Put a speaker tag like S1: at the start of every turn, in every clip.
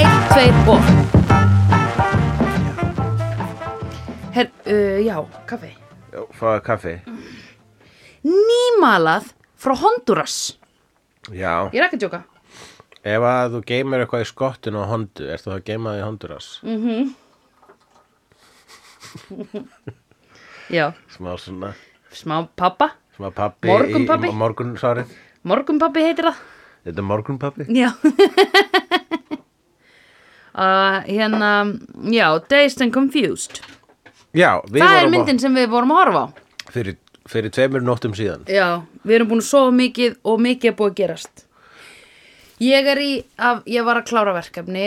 S1: eh,
S2: fáið kaffi
S1: nýmalað frá Honduras
S2: Já,
S1: ég er ekki að djóka
S2: ef að þú geymir eitthvað í skottinu á hondu, ertu það að geyma það í Honduras?
S1: Mm. já,
S2: Smá svona,
S1: smá pappa
S2: smá pappi
S1: Morgunpabbi?
S2: í, í morgunsárið
S1: morgunpappi heitir það
S2: Þetta er morgunpappi?
S1: já uh, hérna já, Dazed and Confused
S2: Já, við
S1: það er
S2: vorum
S1: myndin sem við vorum að horfa á
S2: á, fyrir, fyrir tveimur nóttum síðan
S1: já, við erum búin að sofa mikið og mikið er búið að gerast ég er í af, ég var að klára verkefni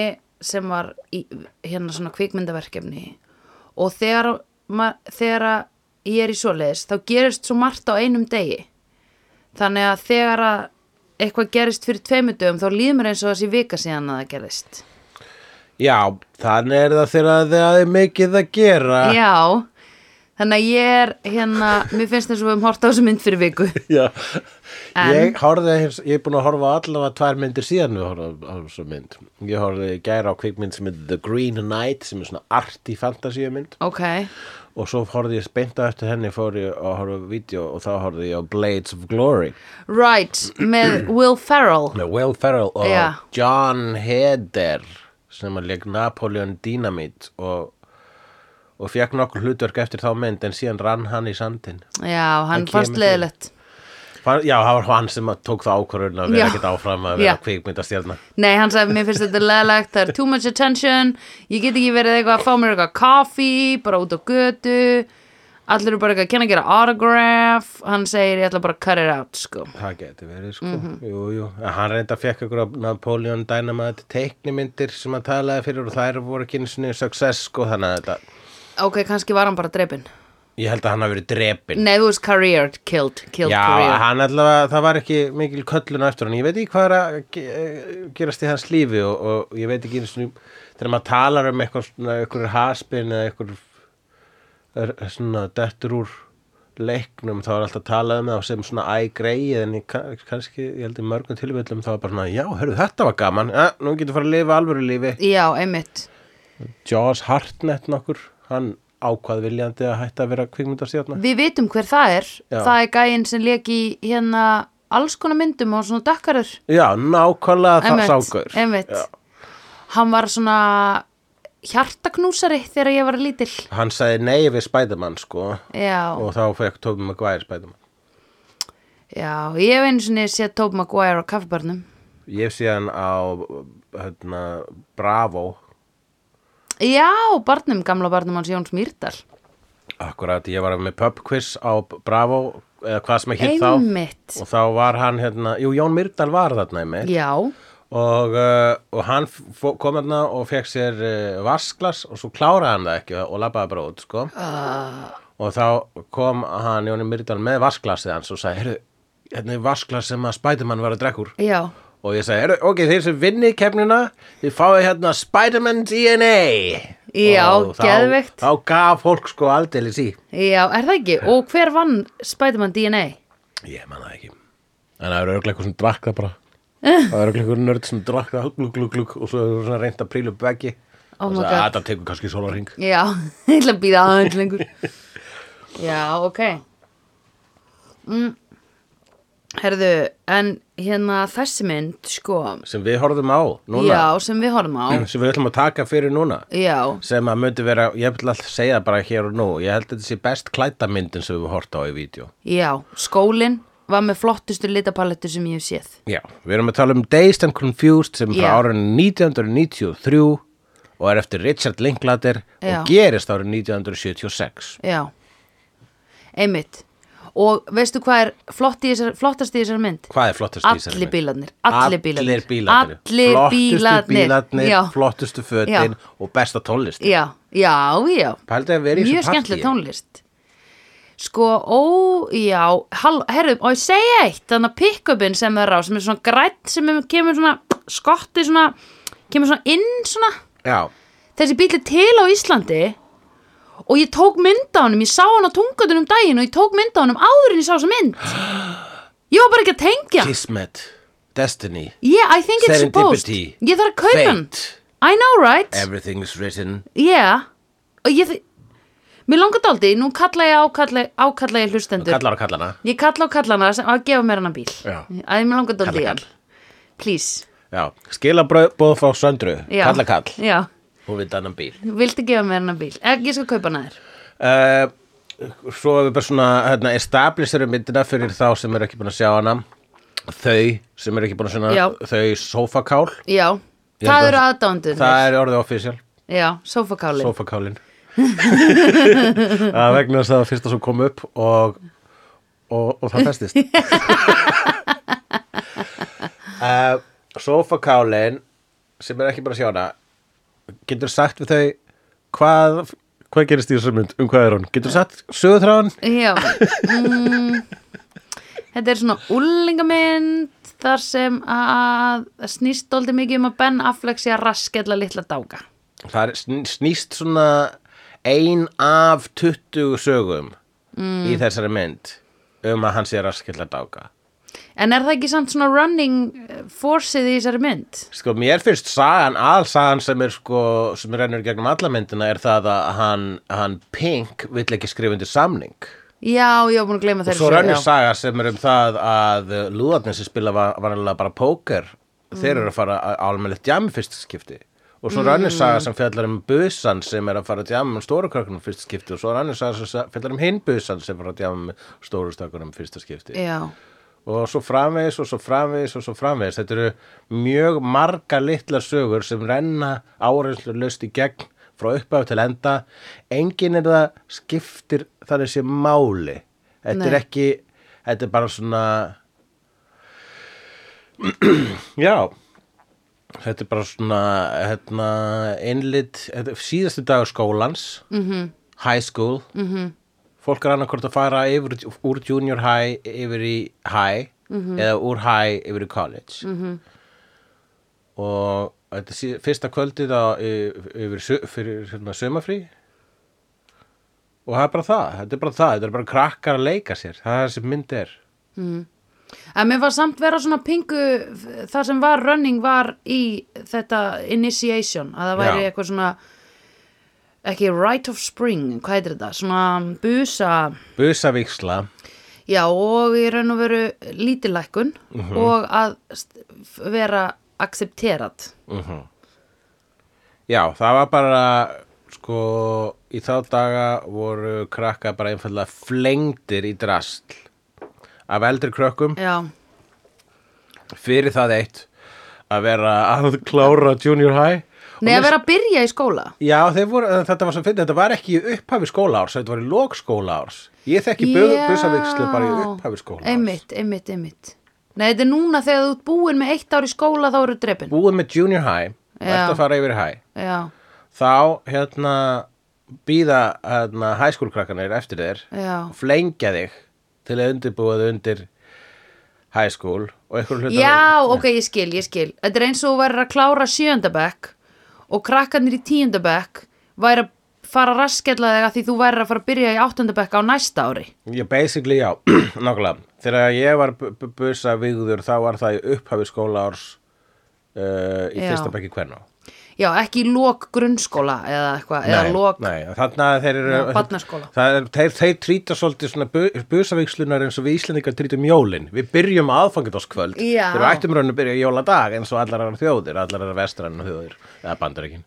S1: sem var í, hérna svona kvikmyndaverkefni og þegar, ma, þegar að ég er í svoleiðis þá gerist svo margt á einum degi þannig að þegar að eitthvað gerist fyrir tveimur dögum þá líður mér eins og þessi vika síðan að það gerist
S2: Já, þannig er það þegar að það er mikið að gera
S1: Já, þannig að ég er hérna, mér finnst þess að við höfum hort á þessu mynd fyrir viku.
S2: Já.
S1: En-
S2: Ég, horfði, ég er búin að horfa á allavega tvær myndir síðan við horfum á þessu mynd. Ég horfði í gæra á kvikmynd sem heitir The Green Knight sem er svona arti fantasíumynd
S1: Ok,
S2: og svo horfði ég speinta eftir henni fór ég að horfa á vídeo og þá horfði ég á Blades of Glory
S1: right, með Will Ferrell.
S2: með Will Ferrell og
S1: Já.
S2: John Heder sem að leik Napoleon Dynamite og, og fekk nokkur hlutverk eftir þá mynd en síðan rann hann í sandin.
S1: Já, hann
S2: Það
S1: fannst
S2: kemur fyrir.
S1: leðilegt.
S2: Fann, já, það var hann sem að tók það ákvörðun að vera
S1: Já.
S2: ekkert áfram að
S1: Já.
S2: vera kvikmyndastjarnar.
S1: Nei, hann sagði, mér finnst þetta leðilegt, það er too much attention, ég get ekki verið eitthvað að fá mér eitthvað kaffi, bara út á götu, allir eru bara eitthvað að kenna að gera autograph, hann segir, ég ætla bara að cut it out, sko.
S2: Það geti verið sko,
S1: Mhm.
S2: jú, jú. En Hann reynda fekk ykkur af Napoleon Dynamite teiknimyndir sem hann talaði fyrir og þær voru ekki einu sinni success sko, þannig að þetta,
S1: Ok, kannski var hann bara drepin.
S2: ég held að hann hafi verið drepin.
S1: Nei, þú veist, career, killed, killed
S2: Já,
S1: career.
S2: hann allavega, það var ekki mikil köllun á eftir hann, ég veit ekki hvað er að ge- eh, gerast í hans lífi og, og ég veit ekki einu sinni, þegar maður talar um eitthvað svona, eitthvað haspin eða eitthvað er- svona dettur úr leiknum, þá er alltaf talað um það sem svona æ greið en ég, ka- kannski, ég held í mörgum tilvillum þá er bara svona, já, hörðu, þetta var gaman ja, nú getur fara að lifa alvöru lífi
S1: Já, einmitt.
S2: Jaws Hartnett nokkur, hann ákvað viljandi að hætta að vera kvikmyndastjárna
S1: Við vitum hver það er.
S2: Já.
S1: Það er gæinn sem leik í hérna alls konar myndum og svona dökkarur.
S2: Já, nákvæmlega það
S1: Einmitt,
S2: sákur
S1: Einmitt. Hann var svona hjartaknúsari þegar ég var lítill.
S2: Hann sagði nei við Spiderman sko
S1: Já,
S2: og þá fekk Tobey Maguire Spiderman
S1: já. Ég hef einu sinni séð Tobey Maguire á kaffibarnum.
S2: Ég sé hann á hérna, Bravo
S1: Já, barnum, gamla barnum hans Jóns Mýrdal.
S2: Akkurat, ég var með pub quiz á Bravo eða hvað sem ekki þá
S1: Einmitt.
S2: og þá var hann hérna, jú Jón Myrdal var þarna í mig
S1: Já,
S2: og, uh, og hann fó- kom hérna og fekk sér uh, vasklas og svo kláraði hann það ekki og labbaði bara út sko
S1: uh,
S2: og þá kom hann Jóni Myrdal með vasklasið hans og sagði, heyrðu, hérna er vasklas sem að Spiderman var að drekka úr
S1: já.
S2: og ég sagði, heyrðu, ok, þeir sem vinni kemnina, þið fáið hérna Spiderman DNA
S1: Já,
S2: Og þá-
S1: geðveikt.
S2: Þá gaf fólk sko aldeilis í
S1: Já, er það ekki? Og hver vann Spiderman DNA?
S2: Ég man það ekki. En það eru örglega eitthvað sem drakk það bara. Það eru örglega eitthvað nörd sem drakk það glug, glug, glug og svo eru svona reynd að prílu beggi.
S1: Oh
S2: og
S1: my
S2: sagði,
S1: God.
S2: "Að, það tekur kannski sólarring.
S1: Já, ég ætla að býða aðeins lengur Já, ok mm. Herðu, en hérna þessi mynd, sko
S2: Sem við horfðum á núna. Mm.
S1: Já, sem við horfum á
S2: Sem við ætlum að taka fyrir núna.
S1: Já,
S2: Sem að myndi vera, ég vil alltaf segja það bara hér og nú. Ég held að þetta sé best klæta myndin sem við horft á í vídeo.
S1: já, skólinn var með flottustu litapalettur sem ég hef séð
S2: Já, við erum að tala um Dazed and Confused sem er
S1: Já.
S2: frá árinu 1993 og er eftir Richard Linklater
S1: Já.
S2: og gerist árið 1976.
S1: Já, einmitt Og veistu hvað er flott í þessar, flottast í þessari mynd?
S2: Hvað er flottast í þessari
S1: Allir
S2: mynd?
S1: bílarnir, allir bílarnir
S2: allir bílarnir,
S1: Allir
S2: flottustu
S1: bílarnir, Já,
S2: flottustu fötin
S1: Já.
S2: og besta tónlist
S1: já, já, já
S2: pældi að vera í
S1: mjög
S2: þessu
S1: skemmtileg tónlist sko, ó, já hall, herru, og ég segi eitt þannig að pick-upin sem það er á, sem er svona grætt sem er, kemur svona, skotti svona kemur svona inn svona
S2: já,
S1: þessi bíl er til á Íslandi og ég tók mynd á honum ég sá hann á tungatunum daginn og ég tók mynd á honum áður en ég sá þessa mynd ég var bara ekki að tengja
S2: Kismet, Destiny
S1: yeah, I think it's supposed
S2: Serendipity,
S1: ég þarf að kaupa hann
S2: Fate.
S1: I know right
S2: Everything is written
S1: yeah og ég þ- Mér langar daldi, nú kalla ég ákalla, ákalla ég hlustendur
S2: kallar á kallana
S1: Ég kalla á kallana sem að gefa mér hennar bíl
S2: Já.
S1: Æ, mér langar daldi
S2: Kalla
S1: í hann Please
S2: Já, skilabröð bóð frá söndru
S1: Já.
S2: Kalla kall,
S1: Já,
S2: hún við annan bíl
S1: viltu gefa mér hennar bíl Ég, ég skal kaupa hann að þér
S2: uh, Svo erum við bara svona hérna, establisherum myndina fyrir þá sem eru ekki búin að sjá hana Þau sem eru ekki búin að sjá
S1: Já.
S2: hana Þau sofakál
S1: Já,
S2: Ég held
S1: það
S2: að-
S1: eru aðdándur
S2: Það er orðið offisjál,
S1: Já, sofakálin
S2: sofakálin Að vegna þess að það var fyrsta sem kom upp og, og, og það festist uh, Sofakálin sem eru ekki búin að sjá hana Getur sagt við þau hvað, hvað gerist í þessu mynd, um hvað er hún? Getur sagt sögutráðan?
S1: Já mm, Þetta er svona úlingamynd þar sem að það snýst dóldi mikið um að Ben Affleck sé að raskella litla dáka
S2: það er sn- snýst svona ein af 20 sögum í þessari mynd um að hann sé raskill að dáka
S1: En er það ekki samt svona running eh, forceið í þessari mynd?
S2: sko mér finnst sagan aðsagan sem er sko sem rennur gegnum alla myndina er það að hann, hann Pink vill ekki skrifa undir samning
S1: Já, ég var búin að gleyma
S2: og
S1: þeirri
S2: svo
S1: sögu,
S2: rennur
S1: já.
S2: saga sem er um það að lúðarnir sem spila var, vanalega bara póker
S1: Mm.
S2: þeir eru að fara á almennilegt djami fyrst skipti og svo rennur saga sem fjallar um busan sem er að fara að djama um stóru krökkunum fyrst skipti og svo rennur saga sem sa- fjallar um hinn busan sem fara að djama um stóru stökkunum fyrst skipti
S1: Já,
S2: og svo framvegis og svo framvegis og svo framvegis þetta eru mjög marga litlar sögur sem renna áreinslu löst í gegn frá upphaf til enda engin er það skiptir þannig sé máli þetta
S1: Nei.
S2: er ekki þetta er bara svona já þetta er bara svona hérna, innlit þetta er síðasti dagur skólans -hmm. high school mm -hmm. fólk er annarkvort að fara yfir, úr junior high yfir í high eða úr high yfir í college -hmm. og þetta er síð, fyrsta kvöldið á, y- yfir, sö- fyrir hérna, sömafrí og það er bara það þetta er bara það, þetta er bara krakkar að leika sér það er það sem mynd er
S1: en mér var samt vera svona pingu það sem var running var í þetta initiation að það væri
S2: Já.
S1: eitthvað svona ekki right of spring, hvað heitir þetta? Svona busa
S2: busavíksla
S1: Já, og í raun og veru lítilækkun
S2: Mhm.
S1: og að st- f- vera accepterat.
S2: Já, það var bara sko í þá daga voru krakka bara einfallega flengdir í drasl af eldri krökkum
S1: Já,
S2: fyrir það eitt að vera að klára junior high
S1: nei að vera að byrja í skóla.
S2: Já, þeir voru, eh, þetta var svo fyrir, þetta var ekki í upphafi skólaárs, þetta var í lok skólaárs Ég þekki
S1: Já.
S2: busavíkslu bara í upphafi skólaárs
S1: Einmitt, einmitt, einmitt. Nei, þetta er núna þegar þú ert búin með eitt ár í skóla þá eru drefin.
S2: Búið með junior high,
S1: Já.
S2: þetta að fara yfir í high
S1: Já,
S2: þá hérna býða hérna hæskúlkrakkanir eftir þér
S1: Já.
S2: og flengja þig til að undirbúa þau undir hæskúl og einhverju hluta
S1: Já, ok, ég skil, ég skil. Þetta er eins og þú værir að klára sjöndabekk og krakkarnir í tíundabekk væri að fara að raskella þig að því þú værir að fara að byrja í áttundabekk á næsta ári.
S2: Já, basically já, nákvæmlega þegar ég var busa vigður þá var það í upphafi skólaárs uh, í
S1: Já.
S2: fyrsta bekki hvernig
S1: Já, ekki í lok grunnskóla eða eitthvað, eða lok
S2: nei, þannig að þeir eru
S1: Já, barnaskóla.
S2: það er, þeir, þeir trýta svolítið svona bu, busavíkslunar eins og við Íslendingar trýtum jólin við byrjum aðfangitáskvöld
S1: Já.
S2: þeir eru ættum raun að byrja jóladag eins og allar aðrar þjóðir allar aðrar vestrann þjóðir eða bandaríkin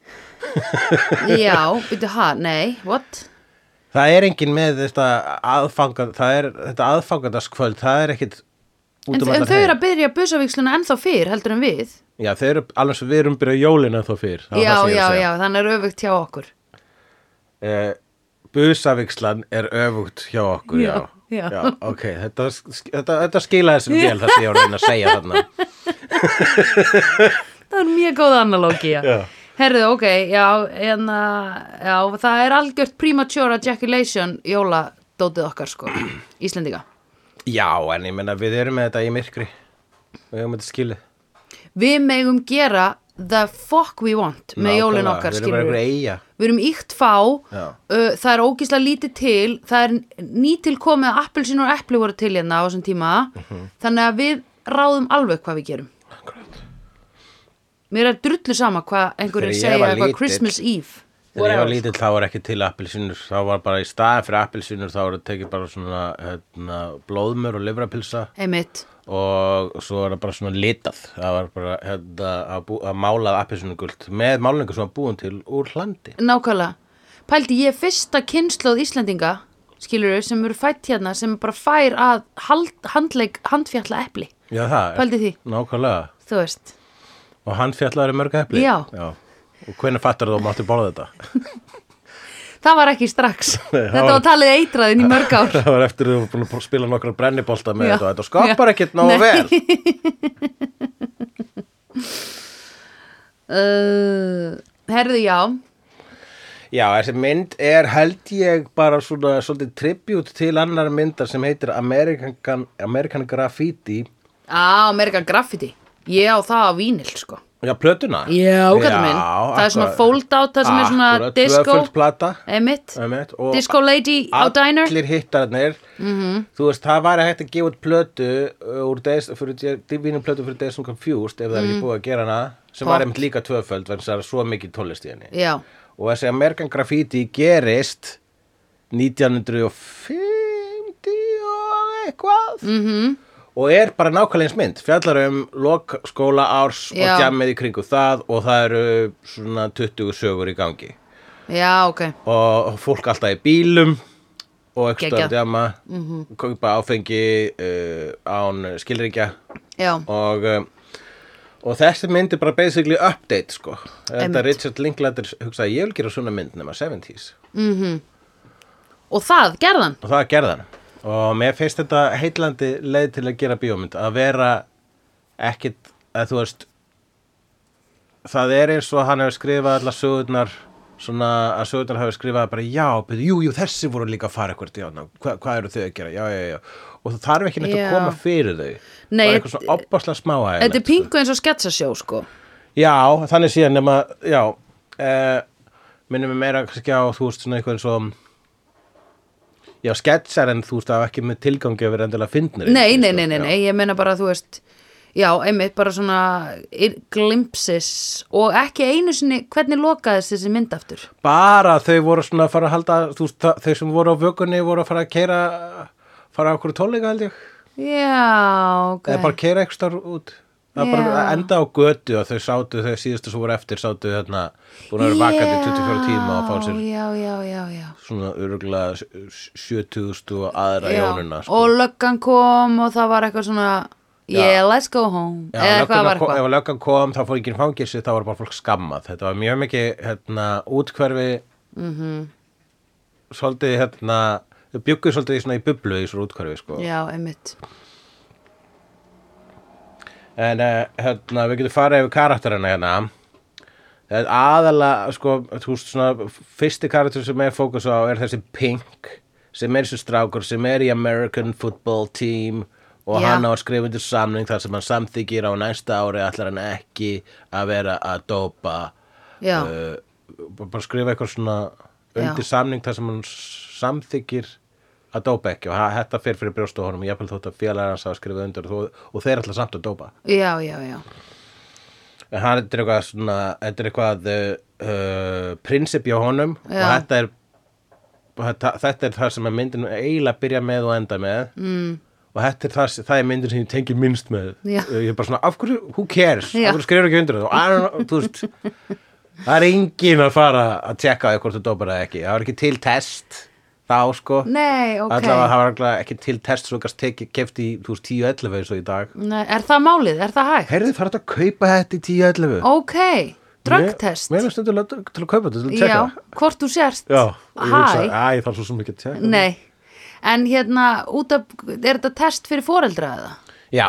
S1: Já, byrju, ha, nei, what?
S2: það er engin með þetta aðfangat það er þetta aðfangatáskvöld það er ekkit út
S1: En,
S2: um
S1: en
S2: allar
S1: þau
S2: heim.
S1: eru að byrja busavíksluna ennþá fyrr heldur en við
S2: já, þeir eru alveg svo við erum byrjað jólin en þó fyrr það var
S1: Já,
S2: það sem ég
S1: já,
S2: var að segja.
S1: já, þannig er öfugt hjá okkur
S2: Eh, Busavíkslan er öfugt hjá okkur, já.
S1: Já, já.
S2: ok, þetta, þetta, þetta skilaði sem vel það sem ég var að reyna að segja þarna.
S1: Það er mjög góð analógía
S2: Já.
S1: Herðu, ok, já, en uh, já, það er algjört premature ejaculation jóladótið okkar sko, Íslendinga
S2: Já, en ég meina við erum með þetta í myrkri. Við erum þetta skilið.
S1: Við megum gera the fuck we want með jólin
S2: Nákvæmlega,
S1: okkar,
S2: Við
S1: skilur
S2: erum bara einhver eiga.
S1: Við erum ykt fá,
S2: Já.
S1: uh, það er ógísla lítið til, það er nýtil komið að appelsin og epli voru til hérna á þessum tíma,
S2: Mhm.
S1: þannig að við ráðum alveg hvað við gerum. Mér er drullu sama hvað einhverjum
S2: Þegar ég
S1: segja
S2: var
S1: eitthvað
S2: lítill-
S1: Christmas Eve.
S2: Þegar ég var
S1: Whatever.
S2: lítill þá var ekki til appelsinur þá var bara í staðin fyrir appelsinur þá var það tekið bara svona hérna, blóðmör og livrapilsa
S1: einmitt
S2: og svo var það bara svona litað það var bara hérna, að, bú, að málað appelsinugult með málingu sem var búin til úr hlandi
S1: Nákvæmlega. Pældi ég er fyrsta kynnslóð Íslendinga, skilur sem eru fætt hérna, sem bara fær að hald, handleik, handfjalla epli,
S2: Já það,
S1: Pældu því.
S2: nákvæmlega
S1: þú veist.
S2: og hann fjallaður í mörg hefli
S1: Já.
S2: Og hvenær fattar þú að þú máttu borða þetta?
S1: Það var ekki strax.
S2: Nei, það
S1: Þetta
S2: var-
S1: var talið eitraðin í mörg ár.
S2: það var eftir að þú var búin að spila nokkra brennibolta með
S1: Já.
S2: þetta og þetta skapar
S1: Já.
S2: ekkert nógu
S1: Nei.
S2: vel
S1: Uh, herðu, já.
S2: Já, þessi mynd er held ég bara svona svolítið tribute til annar myndar sem heitir American, American Graffiti
S1: Á, Amerikan Graffiti. Ég á það á vínil, sko.
S2: Já, plötuna
S1: Já, kallar minn. Það er svona fold out, það sem er svona disco.
S2: Tvöföldplata
S1: Einmitt.
S2: einmitt, og
S1: Disco Lady á Diner. Mhm.
S2: Allir hittarnir -hmm. Þú veist, það væri hægt að gefa út plötu uh, úr des, fyrir, divínum plötu fyrir Desum Confused ef það
S1: Mhm.
S2: er ekki búið að gera hana sem var
S1: Pop.
S2: einmitt líka tvöföld vegna þess að það er svo mikið tólest í henni
S1: Já,
S2: og þessi American Graffiti gerist 1950 og eitthvað
S1: Mhm.
S2: -hmm. og er bara nákvæmlega eins mynd fjallar um lok skóla árs
S1: Já.
S2: og djammið í kringu það og það eru svona 20 sögur í gangi
S1: já, ok.
S2: og fólk alltaf í bílum og ekki stöðum
S1: Geggjað. Mhm.
S2: djama mm -hmm. kaupa áfengi uh, án skilríkja
S1: Já,
S2: og um, og þessi mynd er bara basically update sko. þetta
S1: Einmitt.
S2: Richard Linklater hugsaði ég vil gera svona mynd nema 70s
S1: og það gerðan.
S2: og það gerði hann og mér finnst þetta heitlandi leið til að gera bíómynd að vera ekkit að þú veist það er eins og hann hefur skrifað allar sögurnar svona að sögurnar hefur skrifað bara já, but, jú, jú, þessi voru líka að fara eitthvað já, ná, hva, hvað eru þau að gera, já, já, já og það þarf ekki neitt
S1: Já.
S2: að koma fyrir þau
S1: Nei,
S2: bara eitthvað svona opaslega smáægilegt sko.
S1: Þetta er pingu eins og sketsasjó, sko.
S2: Já, þannig síðan nema, já, uh, minnum við meira kannski á, þú veist, svona eitthvað eins og, já, sketsar en þú veist, það er ekki með tilgangi að vera endilega fyndnir.
S1: Nei, nei, nei, nei, nei, ég meina bara, þú veist, já, einmitt, bara svona í- glimpsis og ekki einu sinni, hvernig lokaðist þessi mynd aftur?
S2: Bara þau voru svona að fara að halda, þú veist, það- þau sem voru á vökunni voru að fara að keira, fara á okkur tónleika held ég,
S1: Já, ok.
S2: eða bara keira eitthvað starf út. Það er bara
S1: Já.
S2: að enda á götu að þau sátu, þau síðustu sem voru eftir sátu þarna, búin að vera vakandi í 24 tíma og fá sér
S1: Já, já, já, já.
S2: svona öruglega 70.000 og aðra
S1: já.
S2: jónuna. sko.
S1: Og löggan kom og það var eitthvað svona, yeah, let's go home.
S2: Já,
S1: Eða
S2: löggan
S1: hvað var
S2: kom-
S1: eitthvað?
S2: ef löggan kom þá fór ekki í fangilsi þá var bara fólk skammað þetta var mjög mikið hérna, útkverfi
S1: Mhm.
S2: svolítið hérna þau bjugguð svolítið í svona í bublu í svona útkverfi sko.
S1: Já, einmitt.
S2: en eh, hérna, við getum farið yfir karakterina hérna Það er aðalega sko, þú veist, svona, fyrsti karakter sem er fókus á er þessi Pink sem er þessi strákur sem er í American Football Team og
S1: Já.
S2: hann á að skrifa undir samning þar sem hann samþykir á næsta ári ætlar hann ekki að vera að dópa
S1: Já,
S2: uh, bara skrifa eitthvað svona undir
S1: Já.
S2: samning þar sem hann samþykir að dópa ekki og ha- þetta fyrir fyrir brjóstu á honum og jafnvel þótt að félagar hans hafa skrifað undir og, þó, og þeir ætla samt að dópa
S1: já, já, já.
S2: en hann þetta er eitthvað svona þetta er eitthvað uh, prinsipi á honum og
S1: Já.
S2: þetta er þetta, þetta er það sem að myndin eiginlega byrja með og enda með mm. og þetta er það, það er myndin sem ég tengi minnst með
S1: Já.
S2: Uh, ég er bara svona, af hverju, who cares
S1: Já.
S2: af hverju skrifur ekki undir það og I don't know, þú veist það er engin að fara að tjekka því hvort þú dópar það ekki það var ekki til test þá sko
S1: Nei, ok.
S2: allavega það var allavega ekki til test svo gast kefti í, þú veist, 10-11 eins og í dag
S1: Nei, er það málið? Er það hægt?
S2: heyrðu þarf þetta að kaupa þetta í 10-11
S1: Ok, drugtest.
S2: Mér mér finnst þetta til, til að kaupa þetta, til að tjekka
S1: Já, hvort þú sért
S2: Já, og ég hugsaði,
S1: Hæ,
S2: æ, ég þarf svo sem ekki að tjekka
S1: nei En hérna, út af, er þetta test fyrir foreldra eða?
S2: Já,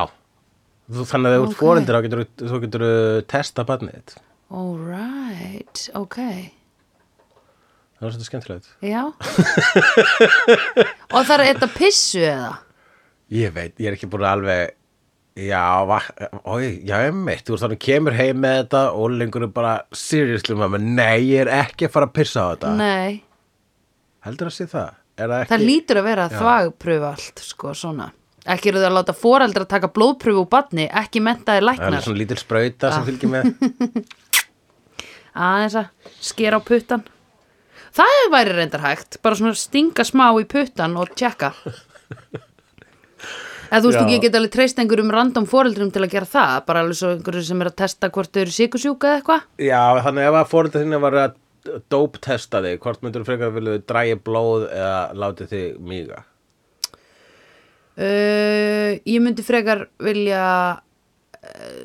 S2: þú, þannig að ef þú okay.
S1: Ok.
S2: fórendir þá getur þú getur testa barnið þitt
S1: All right, ok
S2: Það var svolítið skemmtilegt
S1: Já Og það er þetta pissu eða?
S2: Ég veit, ég er ekki búin að alveg Já, va, oi, já, emmitt, þú veist þannig kemur heim með þetta og lengur er bara seriously mamma, nei, ég er ekki að fara að pissa á þetta
S1: Nei,
S2: Heldur að sé það? Er það ekki?
S1: það lítur að vera þvagpröfu allt, sko, svona Ekki eru það að láta foreldra taka blóðpröfu úr badni, ekki mentaði
S2: Það er alveg
S1: læknar
S2: svona lítil sprauta sem fylgir með
S1: Aðeins að skera á puttan Það væri reyndar hægt, bara svona stinga smá í puttan og tjekka. Eða þú veist,
S2: Já.
S1: þú get alveg treyst einhverjum random foreldrum til að gera það, bara alveg svo einhverjum sem er að testa hvort þau eru sykusjúka eða eitthvað.
S2: Já, þannig ef að fórelda þínu var að dóptesta þig, hvort myndur frekar vilja þau dræja blóð eða láti þig míga?
S1: Uh, ég myndi frekar vilja uh,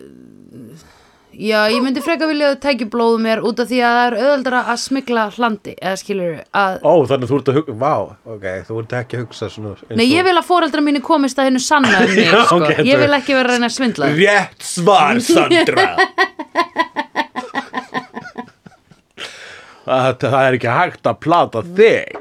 S1: Já, ég myndi frekar vilja að tækja blóð úr mér út af því að það er auðveldara að smikla hlandi eða skilur að
S2: Ó, þannig að þú ert að hugsa, vá, ok, þú ert ekki að hugsa svona eins og-
S1: Nei, ég vil að foreldra mínu komist að hennu sanna um mig,
S2: Já,
S1: sko.
S2: ok,
S1: Ég
S2: þetta-
S1: vil ekki vera að reyna að svindla þeim.
S2: Rétt svar, Sandra það, það er ekki hægt að plata þig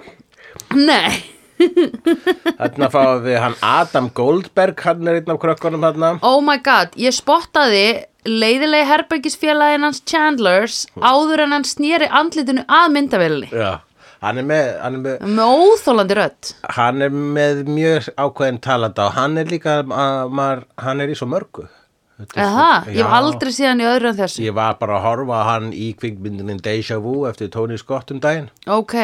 S1: Nei,
S2: Þarna fáum við hann Adam Goldberg Hann er einn af krökkunum þarna
S1: oh my god Ég spottaði leiðilegi herbergisfélagin hans Chandlers áður en hann snýri andlitinu að myndavillinni
S2: Já Hann er, með, hann, er með,
S1: með óþólandi rödd
S2: hann er með mjög ákveðin talanda og hann er líka, að maður, hann er í svo mörgu. Þetta er
S1: Eða
S2: svo-
S1: það, ég hef
S2: Já.
S1: aldrei síðan í öðru en þessu
S2: Ég var bara að horfa á hann í kvikmyndinin Deja Vu eftir Tony Scott um daginn
S1: Ok,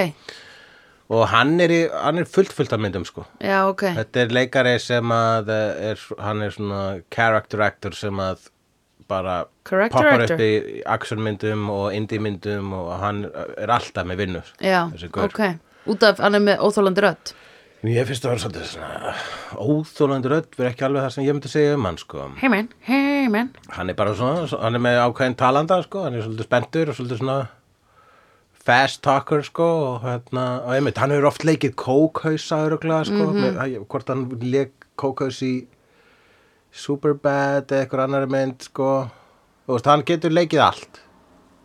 S2: og hann er, í, hann er fullt fullt af myndum sko.
S1: já ok
S2: Þetta er leikari sem að eh, er, hann er svona character actor sem að bara
S1: Character
S2: poppar
S1: actor?
S2: upp í actionmyndum og indiemyndum og hann er alltaf með vinnur.
S1: Já,
S2: þessi gaur.
S1: ok Út af hann er með óþólandi rödd
S2: Ég finnst það að vera svolítið svona óþólandi rödd verið ekki alveg það sem ég myndi segja um hann sko.
S1: Hey man, hey man
S2: Hann er bara svona, hann er með ákveðin talanda sko, hann er svolítið spenntur og svolítið svona fast talker sko og hérna, og einmitt, hann hefur oft leikið kókhausa öruglega sko,
S1: Mhm.
S2: með, hvort hann leik kókhaus í Superbad eða eitthvað annar mynd sko, þú veist, hann getur leikið allt,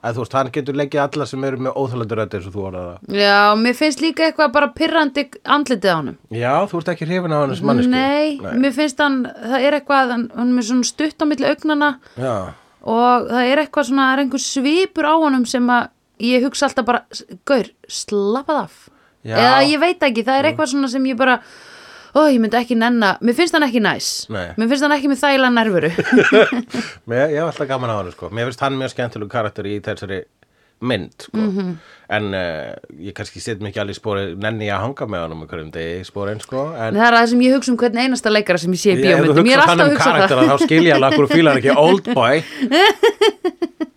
S2: eða þú veist, hann getur leikið alla sem eru með óþólandi rödd eins og þú orðað það.
S1: Já, mér finnst líka eitthvað bara pyrrandi andlitið á honum
S2: Já, þú ert ekki hrifin á hann sem manneski.
S1: Nei, mér finnst hann, það er eitthvað hann, hann er með svona stutt á milli augnana
S2: Já.
S1: og það er eitthvað svona, það er einhver svipur á honum sem að ég hugsa alltaf bara, "S- gaur, slappað af
S2: Já.
S1: eða ég veit ekki, það er eitthvað svona sem ég bara ó, ég myndi ekki nenna, mér finnst hann ekki næs
S2: Nei.
S1: mér finnst hann ekki með þægilega nervuru
S2: Mér, ég hef alltaf gaman á hann sko. Mér finnst hann mjög skemmtileg karakter í þessari mynd sko.
S1: Mhm.
S2: En uh, ég kannski set mikið alveg spóri Nenni ég að hanga með honum einhverjum degi spórin sko. En
S1: það er það sem ég hugsa um hvern einasta leikara sem ég sé í
S2: Ég- ef þú
S1: bíómyndum, ég er
S2: hugsar um
S1: alltaf að hugsa það
S2: karaktera, Þá skilja alveg að hverju fílar ekki Oldboy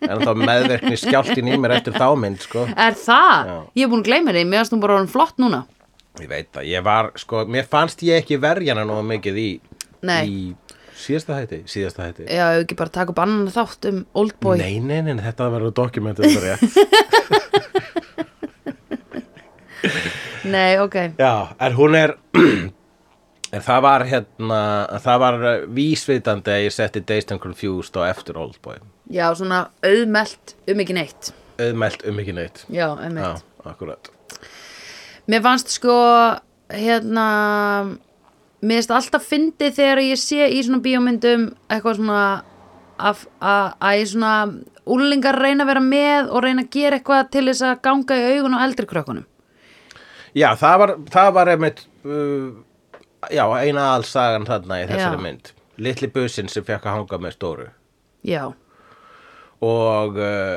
S2: En þá meðverkni skjáltin í mér eftir þá mynd sko.
S1: Er það?
S2: Já.
S1: Ég er búin að gleyma því, mér finnst hún bara orðin flott núna.
S2: Ég veit það, ég var sko, Mér fannst ég ekki verjana nóg mikið í,
S1: Nei.
S2: í Síðasta hætti Síðasta hætti
S1: Já, ef ekki bara taka upp annan þátt um Oldboy.
S2: Nei, nei, nei, þetta verður dokumentið bara rétt
S1: Nei, ok.
S2: Já, en hún er en það var hérna það var uh, vísvitandi að ég setti Dazed and Confused á eftir Oldboy
S1: Já, svona auðmelt um ekki neitt.
S2: auðmælt um ekki neitt
S1: Já, auðmelt.
S2: Já, akkurat
S1: Mér fannst sko, hérna, mér finnst alltaf fyndið þegar ég sé í svona bíómyndum eitthvað svona að að- að ég svona úlingar reyna að vera með og reyna að gera eitthvað til þess að ganga í augun á eldri krökkunum.
S2: Já, það var, það var einmitt uh, já, eina allsagan þarna í þessari
S1: Já.
S2: mynd Litli businn sem fekk að hanga með stóru
S1: Já,
S2: og uh,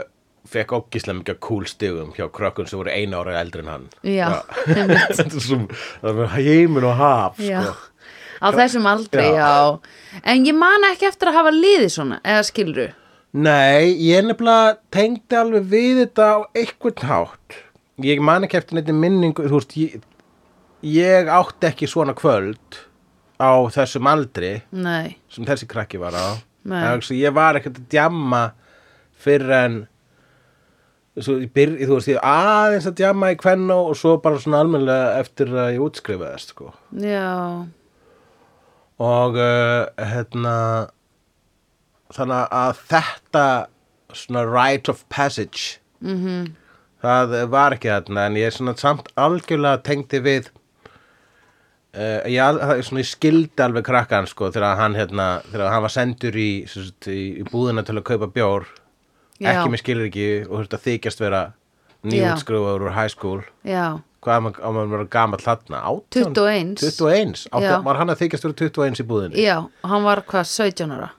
S2: fekk ógislega mikið cool stigum hjá krökkun sem voru eina ára eldri en hann
S1: Já,
S2: Þetta er svo, það var heimin og haf
S1: Já,
S2: sko.
S1: á þessum aldri, já.
S2: Já.
S1: En ég man ekki eftir að hafa liðið svona, eða skilru.
S2: Nei, ég nefnilega tengdi alveg við þetta á einhvern hátt. Ég man ekki eftir neitt minningu, þú veist, ég, ég átti ekki svona kvöld á þessum aldri
S1: Nei,
S2: sem þessi krakki var á.
S1: Nei.
S2: En Þannig, að ég var ekkert að djamma fyrir en, svo, ég byr, þú veist, ég aðeins að djamma í kvennu og svo bara svona almennilega eftir að ég útskrifaðist, sko.
S1: já,
S2: og uh, hérna þannig að þetta svona rite of passage
S1: Mhm.
S2: -hmm. það var ekki þarna en ég er svona samt algjörlega tengdi við uh, ég, al- það er svona, ég skildi alveg krakkan sko þegar hann, hérna, þegar hann var sendur í, sem sagt, í, í búðina til að kaupa bjór
S1: Já.
S2: ekki með skilur ekki og þurfti að þykjast vera nýjútskrufaður úr high school
S1: já,
S2: hvað á maður- á maður að vera gamall þarna 18?
S1: 21.
S2: 21,
S1: Já.
S2: Átti- var hann að þykjast vera 21 í búðinni
S1: já, og hann var hvað, 17 ára?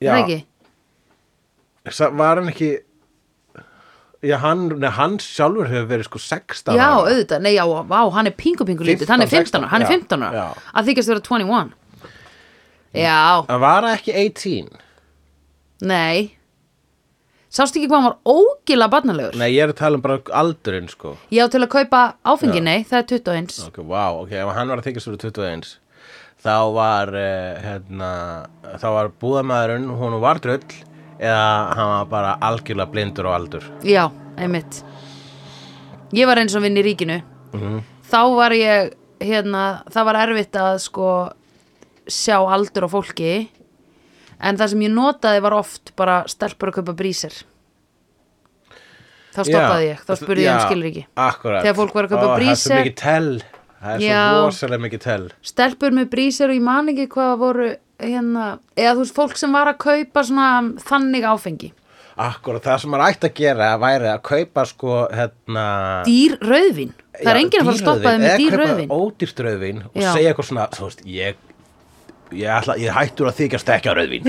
S2: Já.
S1: Er það ekki?
S2: Sa- Var hann ekki já, hann, nei, hann sjálfur hefur verið sko 16
S1: já,
S2: ára.
S1: auðvitað, nei, já, vá, hann er pingu pingu lítið, hann er 15
S2: 15,
S1: ára, hann er
S2: já,
S1: 15 ára,
S2: já.
S1: að þykist vera 21 já,
S2: Hann var það ekki 18
S1: nei sástu ekki hvað hann var ógila barnalegur,
S2: Nei, ég er að tala um bara aldurinn sko
S1: já, til að kaupa áfengi, nei, það er 21
S2: Ok, vá, ok, ef hann var að þykist fyrir 21 Þá var, uh, hérna, þá var búðamaðurinn, hún var drull Eða hann var bara algjörlega blindur og aldur
S1: já, einmitt ég var eins og vinn í ríkinu
S2: Mhm.
S1: þá var ég, hérna það var erfitt að sko sjá aldur á fólki en það sem ég notaði var oft bara stelpur að kaupa brísir þá stoppaði
S2: Já,
S1: ég þá spurði ég um
S2: já,
S1: skilríki
S2: Akkurat
S1: Þegar fólk var að kaupa
S2: Ó, Það
S1: Breezer.
S2: er svo mikið tell Það er
S1: Já.
S2: svo rosalega mikið tell
S1: stelpur með brísir og ég man ekki hvað voru hérna, eða þú veist fólk sem var að kaupa svona þannig áfengi
S2: Akkurat, það sem maður ætti að gera væri að kaupa sko, hérna
S1: dýr rauðvin, það er
S2: já,
S1: enginn að fara að stoppa þeim með
S2: dýrrauðvín,
S1: dýr
S2: Eða
S1: rauðvin
S2: kaupa ódýrt rauðvin og
S1: Já.
S2: segja eitthvað svona, þú veist, ég Ég, ætla, ég er hættur að þykja stekja rauðvín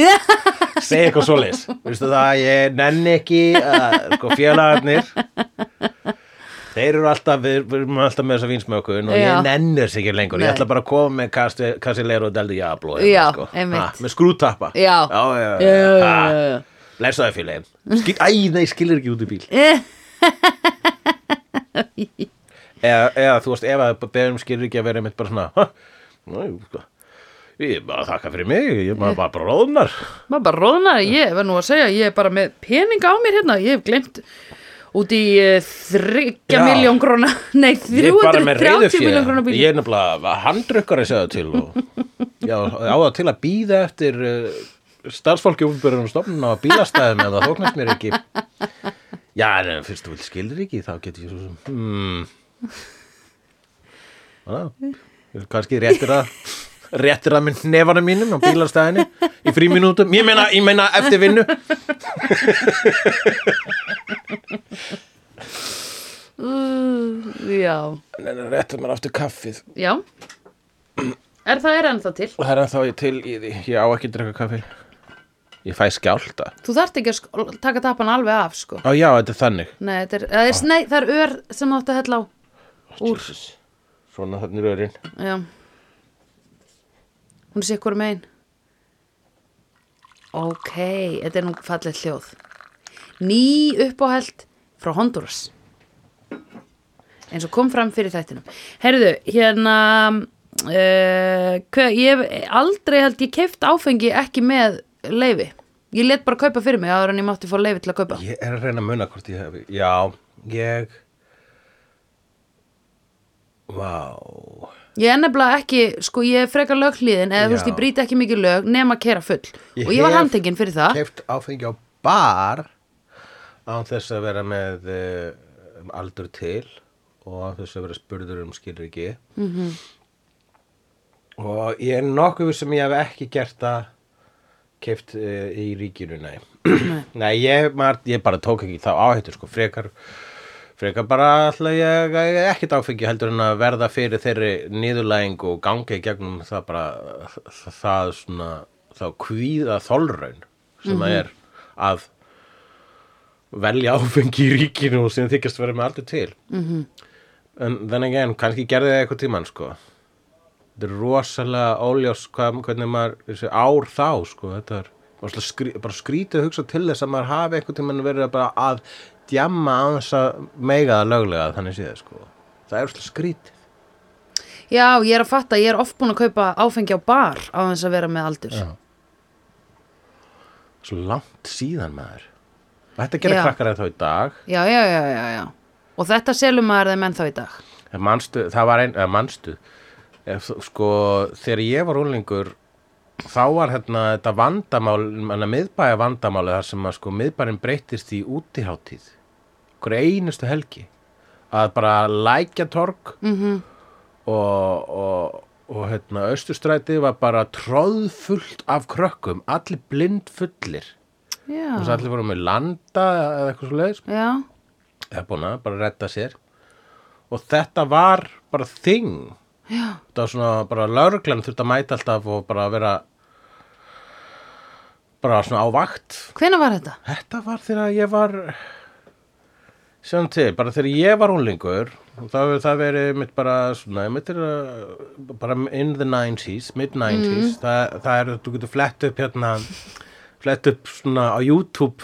S2: segja eitthvað svoleiðis Vistu það, ég nenni ekki að, sko, félagarnir þeir eru alltaf við við erum alltaf með þessa vínsmökun og
S1: Já.
S2: ég nenni þess ekki lengur ég
S1: Nei.
S2: ætla bara að koma með kassi, kassi leir og deldi jablo
S1: Já,
S2: sko.
S1: einmitt.
S2: með skrútappa
S1: Já.
S2: já, já, já,
S1: Já, já,
S2: Ha,
S1: já, já.
S2: blessaðu félagin Skil, æ, nei, skilur ekki út í bíl eða, eða þú veist, ef að beðum skilur ekki að vera einmitt bara svona "Ha, Nú, sko, ég er bara að þakka fyrir mig ég er bara, bara, bara róðnar
S1: maður bara róðnar, ég verð nú að segja ég er bara með peninga á mér hérna ég hef glemt út í eh, þriggja
S2: Já.
S1: miljón króna nei,
S2: ég er bara með
S1: 330 miljón króna
S2: reyðufjö
S1: bíl
S2: ég er nefnilega handrukkar að segja til og já, á það til að býða eftir uh, starfsfólki útbyrjunum stofnun á bílastæðum ef það þóknast mér ekki já, en ef fyrst þú vil skilur ekki þá get ég svo sem hmm Ná, kannski réttir að réttir að minn nefanum mínum á bílastæðinu í fríminútum, ég meina, ég meina eftir vinnu
S1: Uh, já,
S2: réttir mér aftur kaffið
S1: já er það er ennþá til
S2: og það er ennþá ég til í því ég á ekki að drekka kaffi ég fæ skjálta
S1: þú þarft ekki að sk- taka tappan alveg af sko.
S2: Á já, þetta er þannig
S1: nei, þetta er, það er, nei, það er ör sem þú átt að hella á úr
S2: Jesus. Svona þannig rörin
S1: já. hún sé hvort megin ok, þetta er nú fallið hljóð ný uppáhælt frá Honduras eins og kom fram fyrir þættinum herðu, hérna uh, hver, ég hef aldrei held ég keift áfengi ekki með leifi ég let bara kaupa fyrir mig áður en ég mátti fá leifi til að kaupa
S2: Ég er að reyna að muna hvort ég hef Já, ég Vá
S1: Ég er nefnilega ekki, sko, ég er frekar löghlíðin eða þú
S2: Já.
S1: veist, ég brýti ekki mikið lög nema að kera full og ég
S2: hef
S1: var handtekinn fyrir það
S2: Keypt áfengi á bar Án þess að vera með uh, aldur til Og án þess að vera spurður um skilur ekki -hmm.
S1: Mhm.
S2: Og ég er nokkuð sem ég hef ekki gert það keift uh, í ríkinu, nei. Nei, ég, maður, ég bara tók ekki þá áhættu, sko, frekar, frekar bara alltaf ég ekkert áfengi heldur en að verða fyrir þeirri niðurlæðing og gangi í gegnum það bara, það, það svona, þá kvíða þolraun sem að er að velja áfengi í ríkinu og sem þykjast vera með aldrei til. Mm -hmm. En þannig en, kannski gerði það eitthvað tímann, sko þetta er rosalega óljós hvað, hvernig maður, þessi ár þá sko, þetta er rosalega skrí, bara skrítið að hugsa til þess að maður hafi einhvern tímann verið að bara að djamma á þess að mega það löglega þannig séð sko, það er rosalega skrítið
S1: Já, ég er að fatta, ég er oft búin að kaupa áfengi á bar á þess að vera með aldur
S2: Já. svo langt síðan maður þetta gera
S1: Já.
S2: krakkar eða þá í dag
S1: já, já, já, já, já. Og þetta selur maður þeim ennþá í dag
S2: En Eh, manstu, það var ein, eða manstu ef, þú- sko, þegar ég var úlingur þá var hérna þetta vandamál hérna miðbæja vandamáli þar sem að sko miðbærin breytist í útiháttíð hverju einustu helgi að bara lækja torg -hmm. og, og, og hérna austurstræti var bara tróðfullt af krökkum allir blindfullir
S1: Já,
S2: og svo allir voru með landa eða eitthvað svo leiðis
S1: já,
S2: eða búin að bara redda sér og þetta var bara þing
S1: já,
S2: þetta var svona bara lauruglan þurfti að mæta alltaf og bara vera bara svona á vakt
S1: hvenær var þetta?
S2: þetta var þegar ég var Sjáum til, bara þegar ég var húlingur þá hefur það verið mitt bara svona, mitt er að bara in the 90s, mid 90s það, það er, þú getur flett upp hérna flett upp svona á YouTube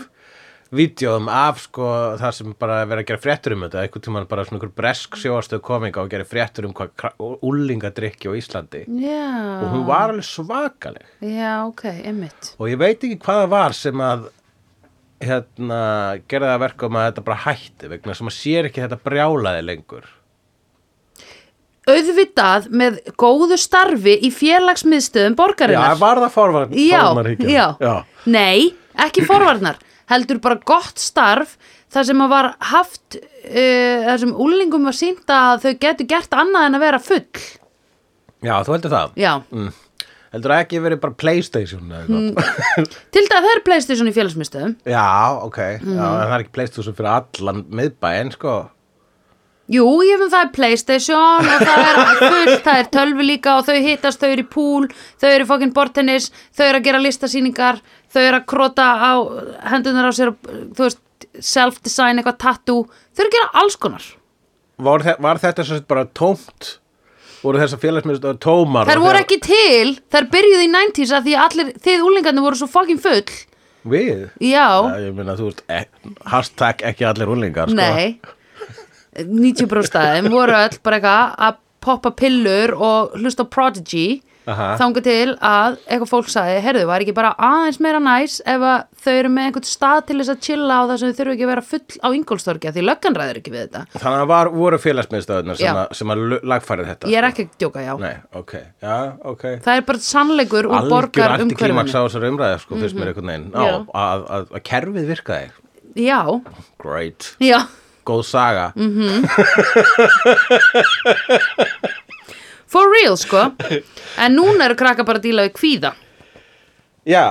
S2: vídjóðum af sko það sem bara er verið að gera fréttur um þetta einhvern tímann bara svona einhver bresk sjóastöð kominga og gera fréttur um hvað kra- úlingadrykki á Íslandi
S1: Já.
S2: og hún var alveg svakaleg
S1: Já, ok, einmitt.
S2: og ég veit ekki hvað það var sem að hérna, gerði það verkum að þetta bara hætti vegna sem að sér ekki þetta brjálaði lengur
S1: Auðvitað með góðu starfi í félagsmiðstöðum
S2: Já,
S1: borgarinnar.
S2: var það forvarn
S1: já,
S2: forvarnarhyggjan?
S1: já. Nei, ekki forvarnar. Heldur bara gott starf þar sem að var haft, uh, þar sem úlingum var sínt að þau getur gert annað en að vera full.
S2: já, þú heldur það
S1: Já.
S2: mm. heldur það ekki verið bara Playstation mm.
S1: Til dæð það er Playstation í félagsmiðstöðum.
S2: já, ok já,
S1: Mm.
S2: en það er ekki Playstation fyrir allan miðbæinn sko
S1: Jú, ég finn það er Playstation og það er fullt, það er tölvi líka og þau hittast, þau eru í pool, þau eru fokkin bortennis, þau eru að gera listasýningar, þau eru að krota á hendunar á sér, og, þú veist, self-design, eitthvað tattoo, þau eru að gera alls konar.
S2: var, þe var þetta svo sett bara tómt voru þessar félagsmiðstöð tómar
S1: Þær
S2: og
S1: voru
S2: þegar-
S1: ekki til, þær byrjuðu í 90s að því að allir, þið úlingarnir voru svo fokkin full.
S2: við Já,
S1: Já,
S2: ég meina, þú veist, e hashtag ekki allir húlingar sko.
S1: nei, 90% stæðum voru öll bara eitthvað að poppa pillur og hlusta á Prodigy.
S2: Aha.
S1: þanga til að eitthvað fólk sagði, heyrðu, var ekki bara aðeins meira næs ef að þau eru með einhvern stað til þess að chilla á það sem þau þurfu ekki að vera full á yngolstorgi því löggan ræður ekki við þetta
S2: Þannig að var, voru félagsmiðstöðunar sem,
S1: Já.
S2: að- sem að lagfærið þetta?
S1: ég er ekki að djóka, já
S2: Nei, ok, já, ok.
S1: það er bara sannleikur úr
S2: Algjör
S1: borgar
S2: antiklimaks á
S1: umhverfinu Mhm.
S2: þessar umræði, sko, fyrst mér einhvern veginn. Á,
S1: Já.
S2: að, að, að kerfið virkaði.
S1: já,
S2: Great.
S1: já,
S2: Góð saga.
S1: Mhm. for real sko en núna eru krakka bara að díla við kvíða
S2: Já,